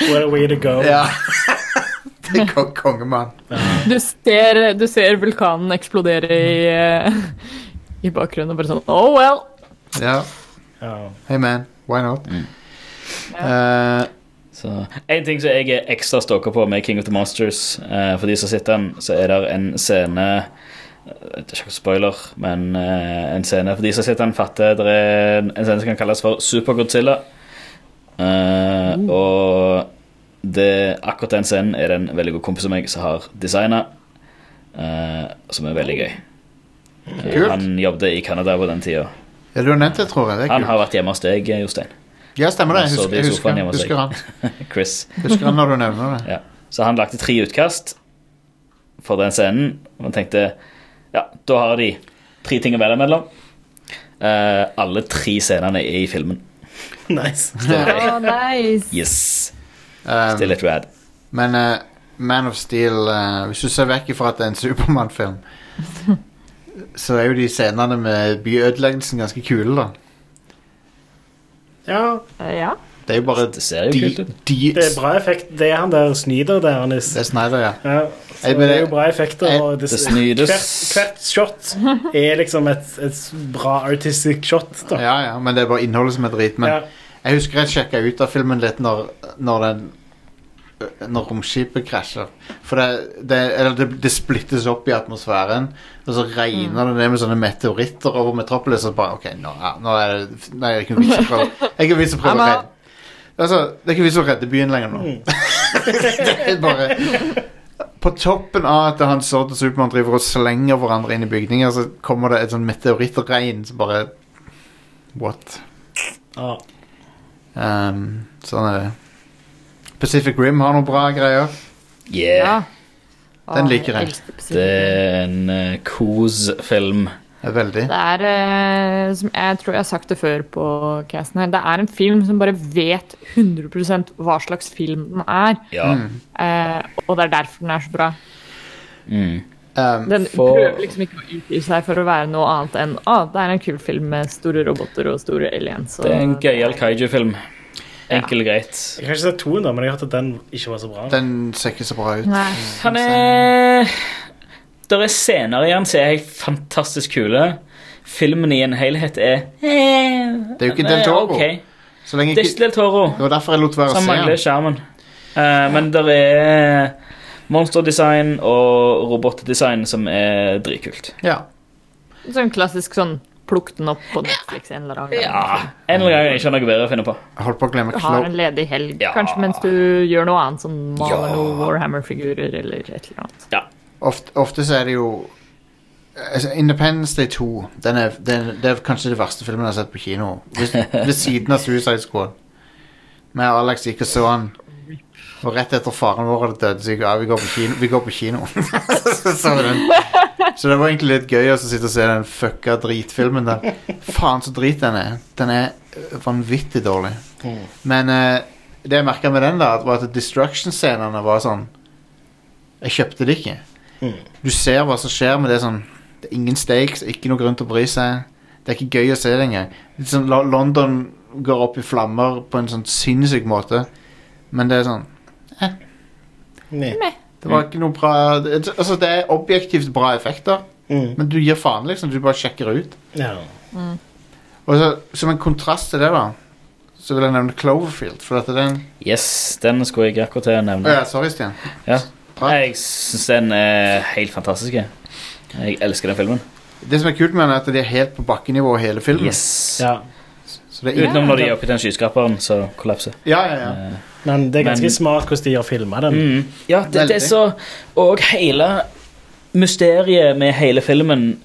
Speaker 3: What a way to go.
Speaker 2: Ja. det er kong kongemann.
Speaker 1: Du ser, du ser vulkanen eksplodere i, eh, i bakgrunnen og bare sånn Oh well!
Speaker 2: Ja.
Speaker 3: Ja.
Speaker 2: Hey man, why not?
Speaker 4: Mm.
Speaker 2: Eh,
Speaker 4: Så, en ting som jeg er ekstra stalker på med King of the Monsters, eh, for de som sitter den, så er det en scene eh, Det er ikke noe spoiler, men eh, en scene For de som sitter den, fatter det er en, en scene som kan kalles for Super-Godzilla. Eh,
Speaker 2: Uh.
Speaker 4: Og det, akkurat den scenen er det en veldig god kompis av meg som har designa, som er veldig gøy. Eh,
Speaker 2: Kult.
Speaker 4: han jobbet i Canada på den tida.
Speaker 2: ja, du har nevnt det, tror jeg. Det er
Speaker 4: Han
Speaker 2: kult.
Speaker 4: har vært hjemme hos deg, Jostein.
Speaker 2: Ja, stemmer det. Jeg
Speaker 4: Han sov
Speaker 2: husker,
Speaker 4: i
Speaker 2: jeg husker,
Speaker 4: sofaen
Speaker 2: han,
Speaker 4: hjemme hos
Speaker 2: husker,
Speaker 4: deg.
Speaker 2: han.
Speaker 4: Chris.
Speaker 2: husker han når du nevner det.
Speaker 4: Ja. Så han lagde tre utkast for den scenen. Og han tenkte ja, da har de tre ting å velge mellom. Eh, alle tre scenene er i filmen.
Speaker 3: Nice.
Speaker 2: Det er-
Speaker 1: Oh, nice.
Speaker 4: Yes!
Speaker 2: Um,
Speaker 4: Det er litt rad.
Speaker 2: Men eh, Man of Steel eh, Hvis du ser vekk ifra at det er en Supermann-film, så er jo de scenene med byødeleggelsen ganske kule, da.
Speaker 3: Ja,
Speaker 1: Eh, Ja.
Speaker 2: Det er jo bare
Speaker 4: Det ser jo
Speaker 2: de,
Speaker 4: kult ut.
Speaker 2: de,
Speaker 3: det er bra effekt. Det er han der snyder der, Anis.
Speaker 2: Det er Snyder, ja.
Speaker 3: Ja, så
Speaker 2: Jeg
Speaker 3: det er
Speaker 2: bare-
Speaker 3: jo bra effekter.
Speaker 2: jeg-
Speaker 3: og det,
Speaker 4: Det snydes.
Speaker 3: hvert, hvert shot er liksom et, et bra artistic shot. Da.
Speaker 2: ja, ja. Men det er bare innholdet som er drit. Men
Speaker 3: Ja.
Speaker 2: jeg husker jeg sjekka ut av filmen litt når, når den når romskipet krasjer. For det, det, eller det, det splittes opp i atmosfæren, og så regner det ned med sånne meteoritter over Metropolis. Og bare OK, nå, er- nå er det Nei, jeg kan ikke prøve Jeg kan ikke vits å prøve å
Speaker 1: Emma.
Speaker 2: redde Altså, det er ikke vits å redde byen lenger nå. det er bare På toppen av at han Zord og Supermann driver og slenger hverandre inn i bygninger, så kommer det et sånn meteorittregn som bare What?
Speaker 3: Ja.
Speaker 2: Um, sånn er det. Pacific Rim har noen bra greier.
Speaker 4: Yeah.
Speaker 1: ja.
Speaker 2: Den
Speaker 1: Å,
Speaker 2: liker jeg.
Speaker 1: elsker Pacific
Speaker 4: Det
Speaker 1: Rim.
Speaker 4: er en eh, kos-film.
Speaker 2: Det er veldig.
Speaker 1: Det er, eh, som jeg tror jeg har sagt det før på casten her, det er en film som bare vet 100 hva slags film den er.
Speaker 4: Ja.
Speaker 2: Mm.
Speaker 1: eh, og det er derfor den er så bra.
Speaker 4: Mm.
Speaker 2: Um,
Speaker 1: Den
Speaker 4: For-
Speaker 1: prøver liksom ikke å utgi seg for å være noe annet enn å, det er en kul film med store roboter og store aliens. Og
Speaker 4: Det er en gøyal kaiju-film. Enkel og greit.
Speaker 3: Jeg har ikke sett toen, da, men jeg har hørt at den ikke var så bra.
Speaker 2: den ser ikke så bra ut.
Speaker 1: Nei.
Speaker 4: Han er Der er scener i han som er helt fantastisk kule. Filmen i en helhet er eh,
Speaker 2: Det er jo ikke Del Toro. Så lenge
Speaker 4: Det er ikke
Speaker 2: ikke,
Speaker 4: Del Toro.
Speaker 2: det var derfor jeg lot være å
Speaker 4: Så han
Speaker 2: se
Speaker 4: mangler
Speaker 2: den.
Speaker 4: skjermen. Eh, men det er monsterdesign og robotdesign som er dritkult.
Speaker 2: Ja.
Speaker 1: Sånn klassisk sånn plukk den opp på Netflix en eller annen gang.
Speaker 4: Ja, En eller annen gang jeg ikke har noe bedre å finne på.
Speaker 2: Jeg holdt på å glemme
Speaker 1: Du har
Speaker 2: Clo
Speaker 1: en ledig helg,
Speaker 4: Ja.
Speaker 1: kanskje mens du gjør noe annet, sånn maler noen Warhammer-figurer eller et eller annet.
Speaker 2: ofte, ofte så er det jo altså, Independence Day 2 den er, den, Det er kanskje det verste filmen jeg har sett på kino. Ved, ved siden av Suicide Squad. Med Alex gikk og så han. Og rett etter faren vår hadde dødd, så gikk vi, ja, vi går på kino. Vi går på kino. så, så, vi den. så det var egentlig litt gøy å sitte og se den fucka dritfilmen der. Faen så drit den er. Den er vanvittig dårlig.
Speaker 3: Mm.
Speaker 2: Men eh, det jeg merka med den, da, var at destruction-scenene var sånn Jeg kjøpte det ikke.
Speaker 3: Mm.
Speaker 2: Du ser hva som skjer, men det er sånn Det er ingen stakes, ikke noe grunn til å bry seg. Det er ikke gøy å se det engang. Litt sånn, Lo- London går opp i flammer på en sånn sinnssyk måte, men det er sånn
Speaker 3: Nei.
Speaker 2: Det
Speaker 4: Mm.
Speaker 2: var ikke noe bra det, Altså, det er objektivt bra effekter,
Speaker 3: Mm.
Speaker 2: men du gir faen, liksom. Du bare sjekker ut.
Speaker 3: Ja.
Speaker 2: Og så, som en kontrast til det, da, så vil jeg nevne Cloverfield. For at det er en
Speaker 4: Yes, den skulle jeg akkurat til å nevne.
Speaker 2: Å ja, sorry, Stian.
Speaker 4: Ja.
Speaker 2: Bra.
Speaker 4: Jeg syns den er helt fantastisk. jeg. Jeg elsker den filmen.
Speaker 2: Det som er kult med den, er at de er helt på bakkenivå hele filmen.
Speaker 4: Yes.
Speaker 3: ja.
Speaker 2: Så det er ingen,
Speaker 4: Utenom når de er oppi den skyskraperen, så kollapser. Eh,
Speaker 2: ja, ja, ja.
Speaker 3: Men det er ganske
Speaker 4: Men-
Speaker 3: smart hvordan de har filma den.
Speaker 4: Mm. Ja, det, det er
Speaker 2: Veldig.
Speaker 4: så Og hele mysteriet med hele filmen,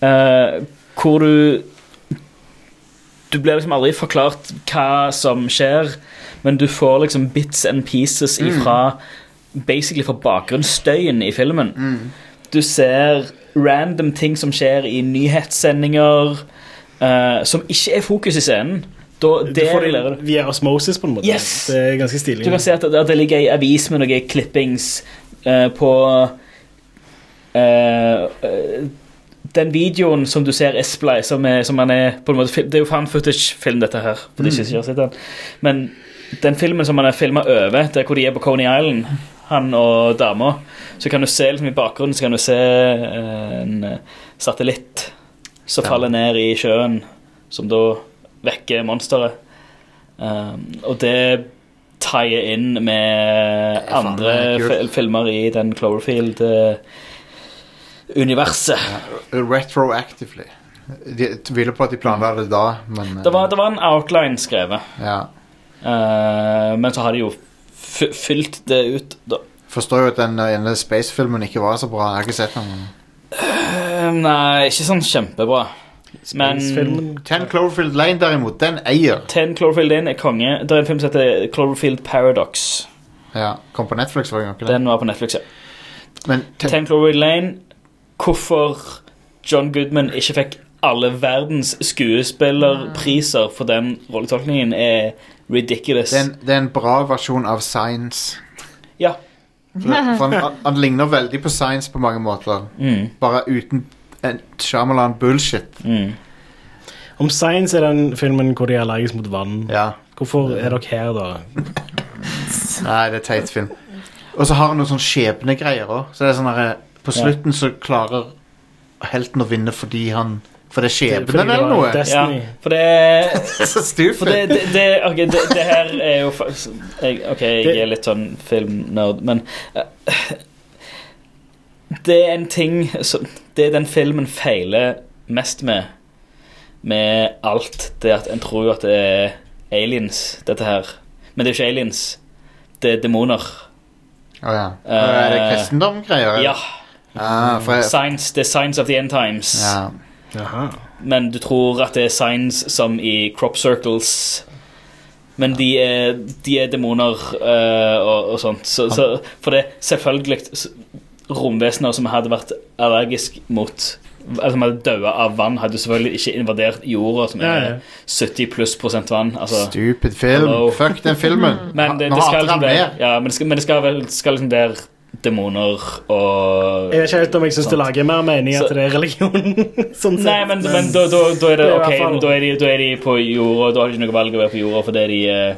Speaker 4: eh, hvor du Du blir liksom aldri forklart hva som skjer, men du får liksom bits and pieces
Speaker 3: Mm.
Speaker 4: ifra Basically fra bakgrunnsstøyen i filmen.
Speaker 3: Mm.
Speaker 4: Du ser random ting som skjer i nyhetssendinger, eh, som ikke er fokus i scenen. Da,
Speaker 3: Du
Speaker 4: det
Speaker 3: får
Speaker 4: lærer du.
Speaker 3: det via osmosis, på en måte.
Speaker 4: Yes.
Speaker 3: Det er ganske stilig.
Speaker 4: Du kan se at det, at det ligger ei avis med noen klippings eh, på eh, eh, Den videoen som du ser er splice, som, er, som han er på en måte, fil- Det er jo fan footage-film, dette her. For de som ikke har sett den. Men den filmen som han er filma over, der hvor de er på Coney Island, han og dama, så kan du se liksom, i bakgrunnen så kan du se eh, en satellitt som faller ned i sjøen, som da vekker monsteret. Um, og det tie inn med
Speaker 2: faen
Speaker 4: andre
Speaker 2: meg kult.
Speaker 4: fil filmer i den eh, Cloverfield-universet.
Speaker 2: Retroactively. De tviler på at de planla det da, men eh,
Speaker 4: Det, var- det var en outline skrevet,
Speaker 2: ja.
Speaker 4: eh, men så har de jo fy- fylt det ut, da.
Speaker 2: Forstår jo at den eh, ene Space-filmen ikke var så bra. Jeg har ikke sett den.
Speaker 4: Eh, nei, ikke sånn kjempebra. Men
Speaker 3: Filmen-
Speaker 2: Ten Cloverfield Lane, derimot, den eier.
Speaker 4: Ten Cloverfield Inn er konge. Det er en film som heter Cloverfield Paradox.
Speaker 2: Ja, Kom på Netflix forrige gang. ikke det?
Speaker 4: Den var på Netflix, ja.
Speaker 2: Men ten,
Speaker 4: Ten Cloverfield Lane Hvorfor John Goodman ikke fikk alle verdens skuespillerpriser for den rolletolkningen, er ridiculous.
Speaker 2: det, er en, det er en bra versjon av Science.
Speaker 4: Ja.
Speaker 2: For, det- for han, han ligner veldig på Science på mange måter,
Speaker 4: Mm,
Speaker 2: bare uten en Shyamalan bullshit.
Speaker 4: mm.
Speaker 3: Om Science er den filmen hvor de er allergisk mot vann.
Speaker 2: Ja.
Speaker 3: Hvorfor er dere her, da?
Speaker 2: Nei, det er teit film. Og så har han noen sånne skjebnegreier òg. Så det er sånn herre På
Speaker 4: Ja.
Speaker 2: slutten så klarer helten å vinne fordi han For det er
Speaker 3: Fordi det
Speaker 2: skjebnen
Speaker 3: var
Speaker 2: eller noe.
Speaker 4: ja.
Speaker 3: Destiny.
Speaker 4: For det
Speaker 2: så
Speaker 4: For det,
Speaker 2: stupid.
Speaker 4: det, det, ok, det, det her er jo fa- jeg, Ok, jeg
Speaker 3: Det-
Speaker 4: er litt sånn filmnerd, men eh, Det er en ting som Det den filmen feiler mest med, med alt, det at en tror jo at det er aliens, dette her. Men det er jo ikke aliens. Det er demoner.
Speaker 2: Å ja. Å, ja. Er det
Speaker 4: Eh,
Speaker 2: kristendomgreier? eller?
Speaker 4: Ja.
Speaker 2: Ah, for jeg,
Speaker 4: Signs, det er signs of the end times.
Speaker 2: ja.
Speaker 3: Jaha.
Speaker 4: Men du tror at det er signs som i crop circles. Men de er, de er demoner eh, og, og sånt. Så, så, for det er selvfølgelig s- romvesener som hadde vært allergisk mot Altså som hadde dødd av vann, hadde selvfølgelig ikke invadert jorda, som
Speaker 3: Ja,
Speaker 4: er
Speaker 3: ja.
Speaker 4: 70 pluss prosent vann. Altså.
Speaker 2: Stupid film.
Speaker 4: Hello.
Speaker 2: Fuck den filmen.
Speaker 4: Men det,
Speaker 2: Nå
Speaker 4: det
Speaker 2: hater
Speaker 4: skal liksom
Speaker 2: han
Speaker 4: der,
Speaker 2: mer.
Speaker 4: ja, men det skal, men det skal, vel, skal liksom der demoner og
Speaker 3: Jeg vet ikke helt om jeg syns det lager mer mening at
Speaker 4: Så-
Speaker 3: det er religion. sånn sett.
Speaker 4: Nei, men, men da, da,
Speaker 3: Det
Speaker 4: da er det
Speaker 3: er i
Speaker 4: ok,
Speaker 3: hvert fall-
Speaker 4: men da er de, da er de på jorda, da har de ikke noe valg å være på jorda fordi de eh,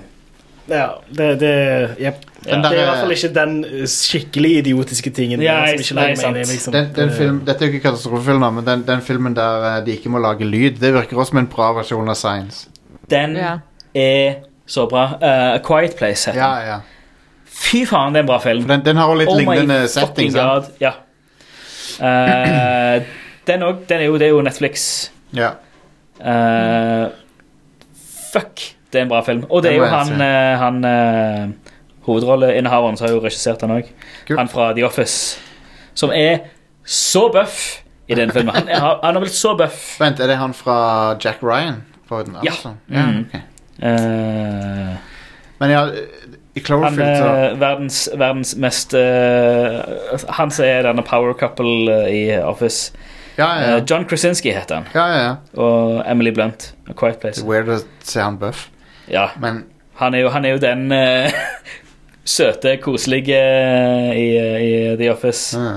Speaker 3: ja, det, det, jep.
Speaker 4: Ja.
Speaker 2: Den der
Speaker 3: det er i
Speaker 2: er-
Speaker 3: hvert fall ikke den eh, skikkelig idiotiske tingen
Speaker 4: Ja,
Speaker 3: der, som ikke
Speaker 4: nei,
Speaker 3: lager
Speaker 4: sant.
Speaker 3: mening. Liksom.
Speaker 2: Den, den
Speaker 3: Det-
Speaker 2: film, dette er jo ikke katastrofefilm, da, men den, den filmen der eh, de ikke må lage lyd, det virker også som en bra versjon av Science.
Speaker 4: Den
Speaker 1: Ja.
Speaker 4: er så bra. Eh, A Quiet Place heter
Speaker 2: Ja,
Speaker 4: den.
Speaker 2: ja.
Speaker 4: Fy faen, det er en bra film.
Speaker 2: For den, den har også litt
Speaker 4: Oh my
Speaker 2: lignende setting.
Speaker 4: fucking
Speaker 2: sant?
Speaker 4: god. Ja. Eh, Den òg. Det er jo Netflix.
Speaker 2: Ja.
Speaker 4: Eh, fuck, det er en bra film. Og det er
Speaker 2: Det
Speaker 4: jo
Speaker 2: må jeg
Speaker 4: han,
Speaker 2: si.
Speaker 4: eh, han eh, hovedrolleinnehaveren som har jo regissert den òg.
Speaker 2: Kult.
Speaker 4: Han fra The Office. Som er så buff i den filmen. Han, er, han har blitt så buff.
Speaker 2: Vent, er det han fra Jack Ryan? På den,
Speaker 4: Ja.
Speaker 2: altså?
Speaker 4: Mm.
Speaker 2: ok.
Speaker 4: Eh,
Speaker 2: Men ja, i
Speaker 4: han eh,
Speaker 2: Cloverfield så
Speaker 4: er verdens, verdens mest eh, Han som er denne power couple eh, i Office.
Speaker 2: Ja, ja, ja.
Speaker 4: Eh, John Krasinski heter han.
Speaker 2: ja, ja, ja.
Speaker 4: Og Emily Blunt. A Quiet
Speaker 2: Det
Speaker 4: Place.
Speaker 2: er weird å se han buff,
Speaker 4: Ja,
Speaker 2: men
Speaker 4: Han er jo, han er jo den eh, søte, koselige eh, i, i The Office.
Speaker 2: ja.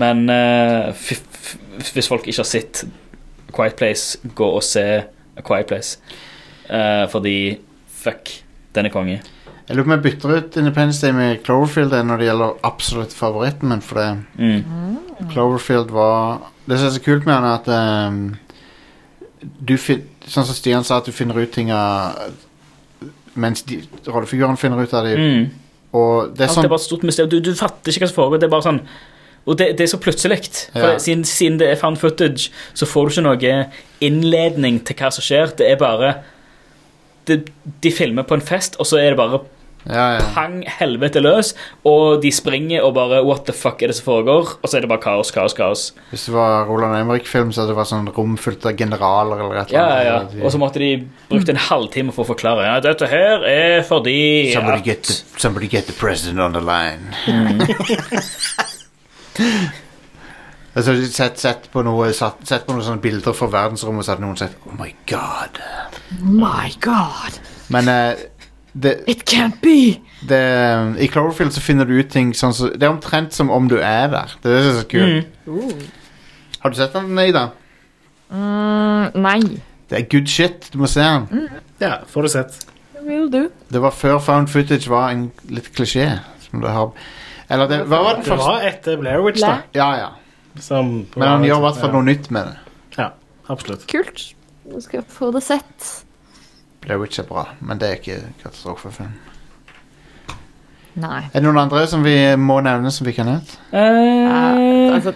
Speaker 4: Men eh, fy- f- hvis folk ikke har sett A Quiet Place, gå og se A Quiet Place. Eh, fordi fuck, den er konge.
Speaker 2: Jeg lurer på om jeg bytter ut Independence Day med Cloverfield eh, når det gjelder absolutt favoritten min, for det
Speaker 4: Mm.
Speaker 2: Cloverfield var Det som er så kult med han, er at ehm, du fin, Sånn som Stian sa, at du finner ut ting av Mens de, rollefiguren finner ut av det.
Speaker 4: Mm.
Speaker 2: Og det er
Speaker 4: Alt
Speaker 2: sånn
Speaker 4: er bare et stort mysterium. Du, du fatter ikke hva som foregår. Det er bare sånn Og det, det er så plutselig. For
Speaker 2: Ja.
Speaker 4: siden, siden det er found footage, så får du ikke noe innledning til hva som skjer. Det er bare det, De filmer på en fest, og så er det bare
Speaker 2: Ja, ja.
Speaker 4: pang helvete løs, og de springer og bare What the fuck er det som foregår? Og så er det bare kaos, kaos, kaos.
Speaker 2: Hvis det var Roland Emrik-film, så hadde det vært sånn rom fullt av generaler eller et
Speaker 4: Ja,
Speaker 2: eller
Speaker 4: ja,
Speaker 2: annet.
Speaker 4: ja. Og så måtte de brukt en halvtime for å forklare. Ja, dette her er fordi
Speaker 2: Somebody
Speaker 4: at-
Speaker 2: get, the, somebody get the president on the line. altså, sett, sett, på noe, satt, sett på noen sånne bilder fra verdensrommet, så hadde noen sett Oh my god.
Speaker 1: My God,
Speaker 2: Men eh, det,
Speaker 1: it can't be!
Speaker 2: det, i Cloverfield så finner du ut ting sånn som Det er omtrent som om du er der. Det er det som er så
Speaker 4: Mm.
Speaker 2: kult. Har du sett den, Ida?
Speaker 1: Mm, nei.
Speaker 2: Det er good shit. Du må se den.
Speaker 3: Ja, får du sett.
Speaker 1: Will do.
Speaker 2: Det var før found footage var en litt klisjé. Som det har Eller det, hva var den
Speaker 3: Det
Speaker 2: første?
Speaker 3: var etter Blair Witch, da.
Speaker 2: Ja, ja.
Speaker 3: Som
Speaker 2: Men han gjør i hvert fall noe nytt med det.
Speaker 3: Ja, absolutt.
Speaker 1: Kult. Nå skal jeg få det sett.
Speaker 2: Blair Witch er bra, men det er ikke katastrofefilm.
Speaker 1: Nei.
Speaker 2: Er det noen andre som vi må nevne som vi kan hete?
Speaker 1: Eh, altså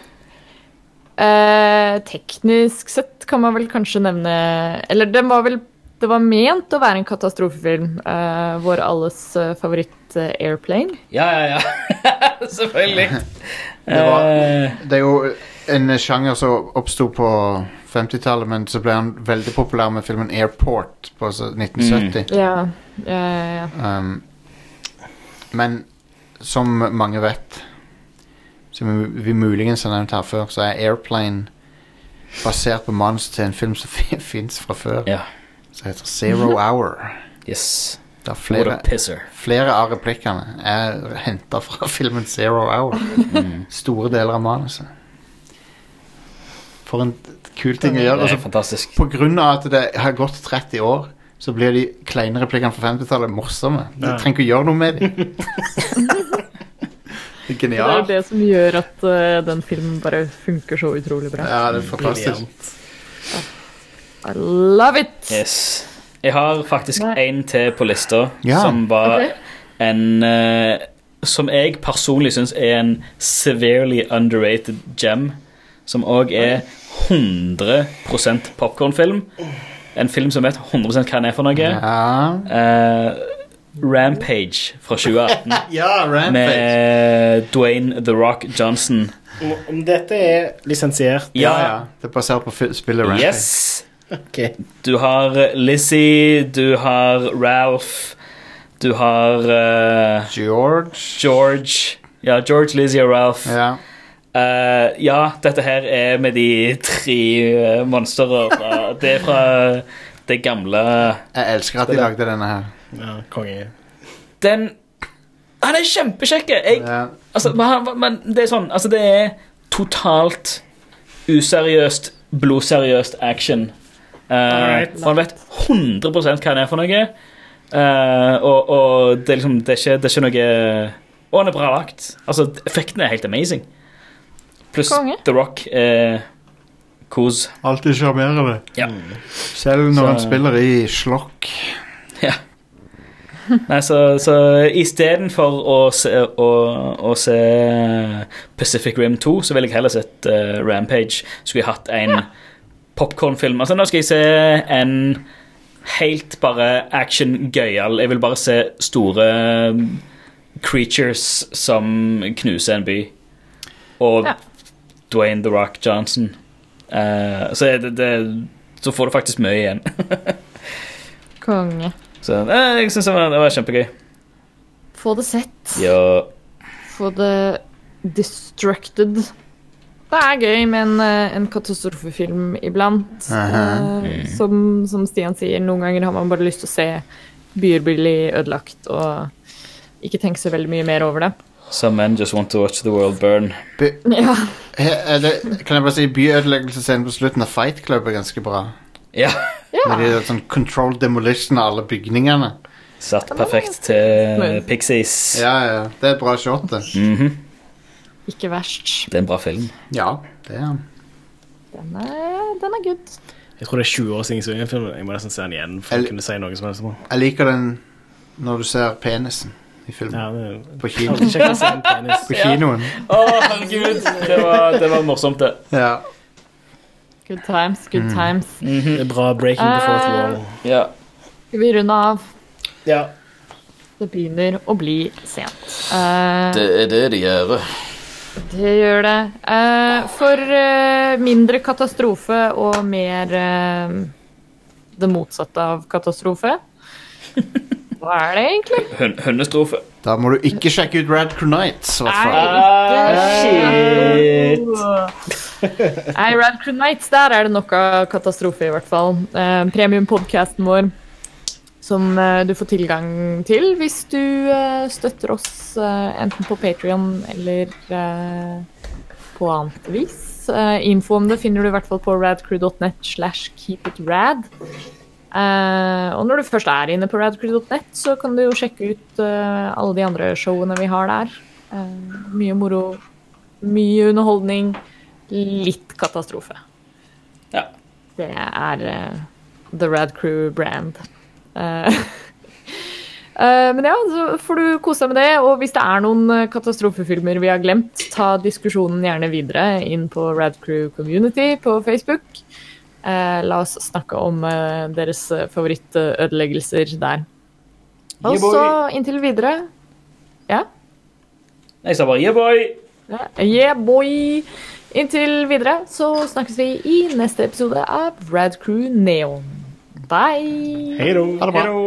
Speaker 1: eh, Teknisk sett kan man vel kanskje nevne Eller den var vel Det var ment å være en katastrofefilm. eh, vår alles eh, favoritt eh, Airplane.
Speaker 4: Ja, ja, ja. Selvfølgelig.
Speaker 2: Det, var,
Speaker 4: Eh,
Speaker 2: det er jo en sjanger som oppsto på 50-tallet, men så ble han veldig populær med filmen Airport på så- 1970.
Speaker 1: Ja. ja, ja,
Speaker 2: Um, men som mange vet, som vi muligens har nevnt her før, så er Airplane basert på manus til en film som fins fra før,
Speaker 4: Ja.
Speaker 2: som heter Zero Hour.
Speaker 4: yes.
Speaker 2: Det er
Speaker 4: What
Speaker 2: flere
Speaker 4: a pisser.
Speaker 2: Flere av replikkene er henta fra filmen Zero Hour. Store deler av manuset. For en kul ting å
Speaker 4: Det
Speaker 2: gjøre.
Speaker 4: er
Speaker 2: Altså,
Speaker 4: fantastisk.
Speaker 2: på grunn av at det har gått 30 år, så blir de kleine replikkene fra 50-tallet morsomme. Du
Speaker 3: Ja.
Speaker 2: trenger ikke å gjøre noe med dem. det er
Speaker 1: Det er jo
Speaker 2: genialt.
Speaker 1: det som gjør at eh, den filmen bare funker så utrolig bra.
Speaker 2: Ja, det er fantastisk.
Speaker 1: I love it!
Speaker 4: Yes. Jeg har faktisk
Speaker 1: Nei.
Speaker 4: en til på lista,
Speaker 2: Ja.
Speaker 4: som var
Speaker 1: Ok.
Speaker 4: en eh, Som jeg personlig syns er en severely underrated gem. Som òg er 100 popkornfilm. En film som vet 100 hva den er for noe.
Speaker 2: Ja,
Speaker 4: Eh, Rampage fra 2018
Speaker 2: ja Rampage.
Speaker 4: med Dwayne The Rock Johnson.
Speaker 3: Om dette er lisensiert
Speaker 2: Ja,
Speaker 4: Ja,
Speaker 2: ja. Det er basert på fi- spillet Rampage.
Speaker 4: yes!
Speaker 3: Ok.
Speaker 4: Du har eh, Lizzie, du har Ralph, du har eh,
Speaker 2: George.
Speaker 4: George. Ja, George, Lizzie og Ralph. Ja,
Speaker 2: Ja.
Speaker 4: ja dette her er med de tre uh, monstrene fra Det er fra det gamle
Speaker 2: Jeg elsker at de lagde denne her.
Speaker 3: Ja, konge.
Speaker 4: Den Han er kjempekjekk! Jeg,
Speaker 2: Ja.
Speaker 4: Altså, men, han- men det er sånn Altså, det er totalt useriøst, blodseriøst action. Eh,
Speaker 3: Alright.
Speaker 4: og han vet 100 hva han er for noe. Eh, og, og det er liksom Det er ikke, det er ikke noe Og han er bra lagt. Altså, effekten er helt amazing. Pluss
Speaker 1: Konge.
Speaker 4: The Rock er kos.
Speaker 2: Alltid sjarmerende.
Speaker 4: Ja.
Speaker 2: Selv når
Speaker 4: Så-
Speaker 2: han spiller i slokk.
Speaker 4: Ja. Nei, så, så istedenfor å, se- å, å se Pacific Rim 2, så ville jeg heller sett eh, Rampage. Skulle jeg hatt en popcornfilm. Altså, nå skal jeg se en helt bare action-gøyal. Jeg vil bare se store eh, creatures som knuser en by. Og
Speaker 1: Ja.
Speaker 4: Dwayne The Rock Johnson. Eh, så, er det, det, så får du faktisk mye igjen.
Speaker 1: Konge.
Speaker 4: Så eh, jeg syns det, var- det var kjempegøy.
Speaker 1: Få det sett.
Speaker 4: Ja.
Speaker 1: Få det destructed. Det er gøy med en, eh, en katastrofefilm iblant.
Speaker 2: Aha.
Speaker 1: Eh, som, som Stian sier, noen ganger har man bare lyst til å se byer bli ødelagt og ikke tenke så veldig mye mer over det.
Speaker 4: Some men just want to watch the world burn.
Speaker 1: Ja,
Speaker 2: He- er det- Kan jeg bare si byødeleggelsesscenen på slutten av Fight Club er ganske bra.
Speaker 4: Ja.
Speaker 2: Når de gjør sånn controlled demolition av alle bygningene.
Speaker 4: Satt perfekt til
Speaker 1: Men-
Speaker 4: Pixies.
Speaker 2: Ja, ja, Det er et bra shot, det.
Speaker 4: Mhm.
Speaker 1: ikke verst.
Speaker 4: Det er en bra film.
Speaker 2: Ja, det er han.
Speaker 1: Den er, den er good.
Speaker 3: Jeg tror det er 20 år siden jeg så den filmen. Jeg må nesten se den igjen for
Speaker 2: Eller-
Speaker 3: å kunne si noe som helst. om den.
Speaker 2: Jeg liker den når du ser penisen i filmen.
Speaker 3: Ja, det
Speaker 2: På,
Speaker 3: er
Speaker 2: kino.
Speaker 3: alltid kjekt å se en penis.
Speaker 2: på kinoen.
Speaker 4: Å, herregud! Det var, det var morsomt, det.
Speaker 2: Ja.
Speaker 1: Good times, good times.
Speaker 3: Det er bra breaking the fourth wall.
Speaker 4: Ja.
Speaker 1: Skal vi runde av?
Speaker 3: Ja.
Speaker 1: Det begynner å bli sent. Eh,
Speaker 5: Det er det de gjør.
Speaker 1: Det gjør det. Eh, for eh, mindre katastrofe og mer eh, det motsatte av katastrofe. Hva er det egentlig?
Speaker 4: Hun, hundestrofe.
Speaker 2: Da må du ikke sjekke ut Rad Cronites. i hvert fall. Ah,
Speaker 1: Nei, Nei, Radcrow Nights, der er det nok av katastrofe, i hvert fall. Eh, Premiumpodkasten vår, som eh, du får tilgang til hvis du eh, støtter oss eh, enten på Patrion eller eh, på annet vis. Eh, info om det finner du i hvert fall på radcrew.net slash keepitrad. Eh, og når du først er inne på radcrew.net, så kan du jo sjekke ut eh, alle de andre showene vi har der. Eh, mye moro, mye underholdning, litt katastrofe.
Speaker 4: Ja.
Speaker 1: Det er eh, The Rad Crew brand. Eh, eh, men ja, så får du kose deg med det. Og hvis det er noen eh, katastrofefilmer vi har glemt, ta diskusjonen gjerne videre inn på Rad Crew Community på Facebook. Eh, la oss snakke om eh, deres eh, favorittødeleggelser der. Og
Speaker 4: Yeah, boy.
Speaker 1: så inntil videre
Speaker 4: Jeg sa bare yeah, boy!
Speaker 1: Ja, Yeah, boy! Inntil videre så snakkes vi i neste episode av Rad Crew Neon. Bye!
Speaker 3: Hei då.
Speaker 4: Hello.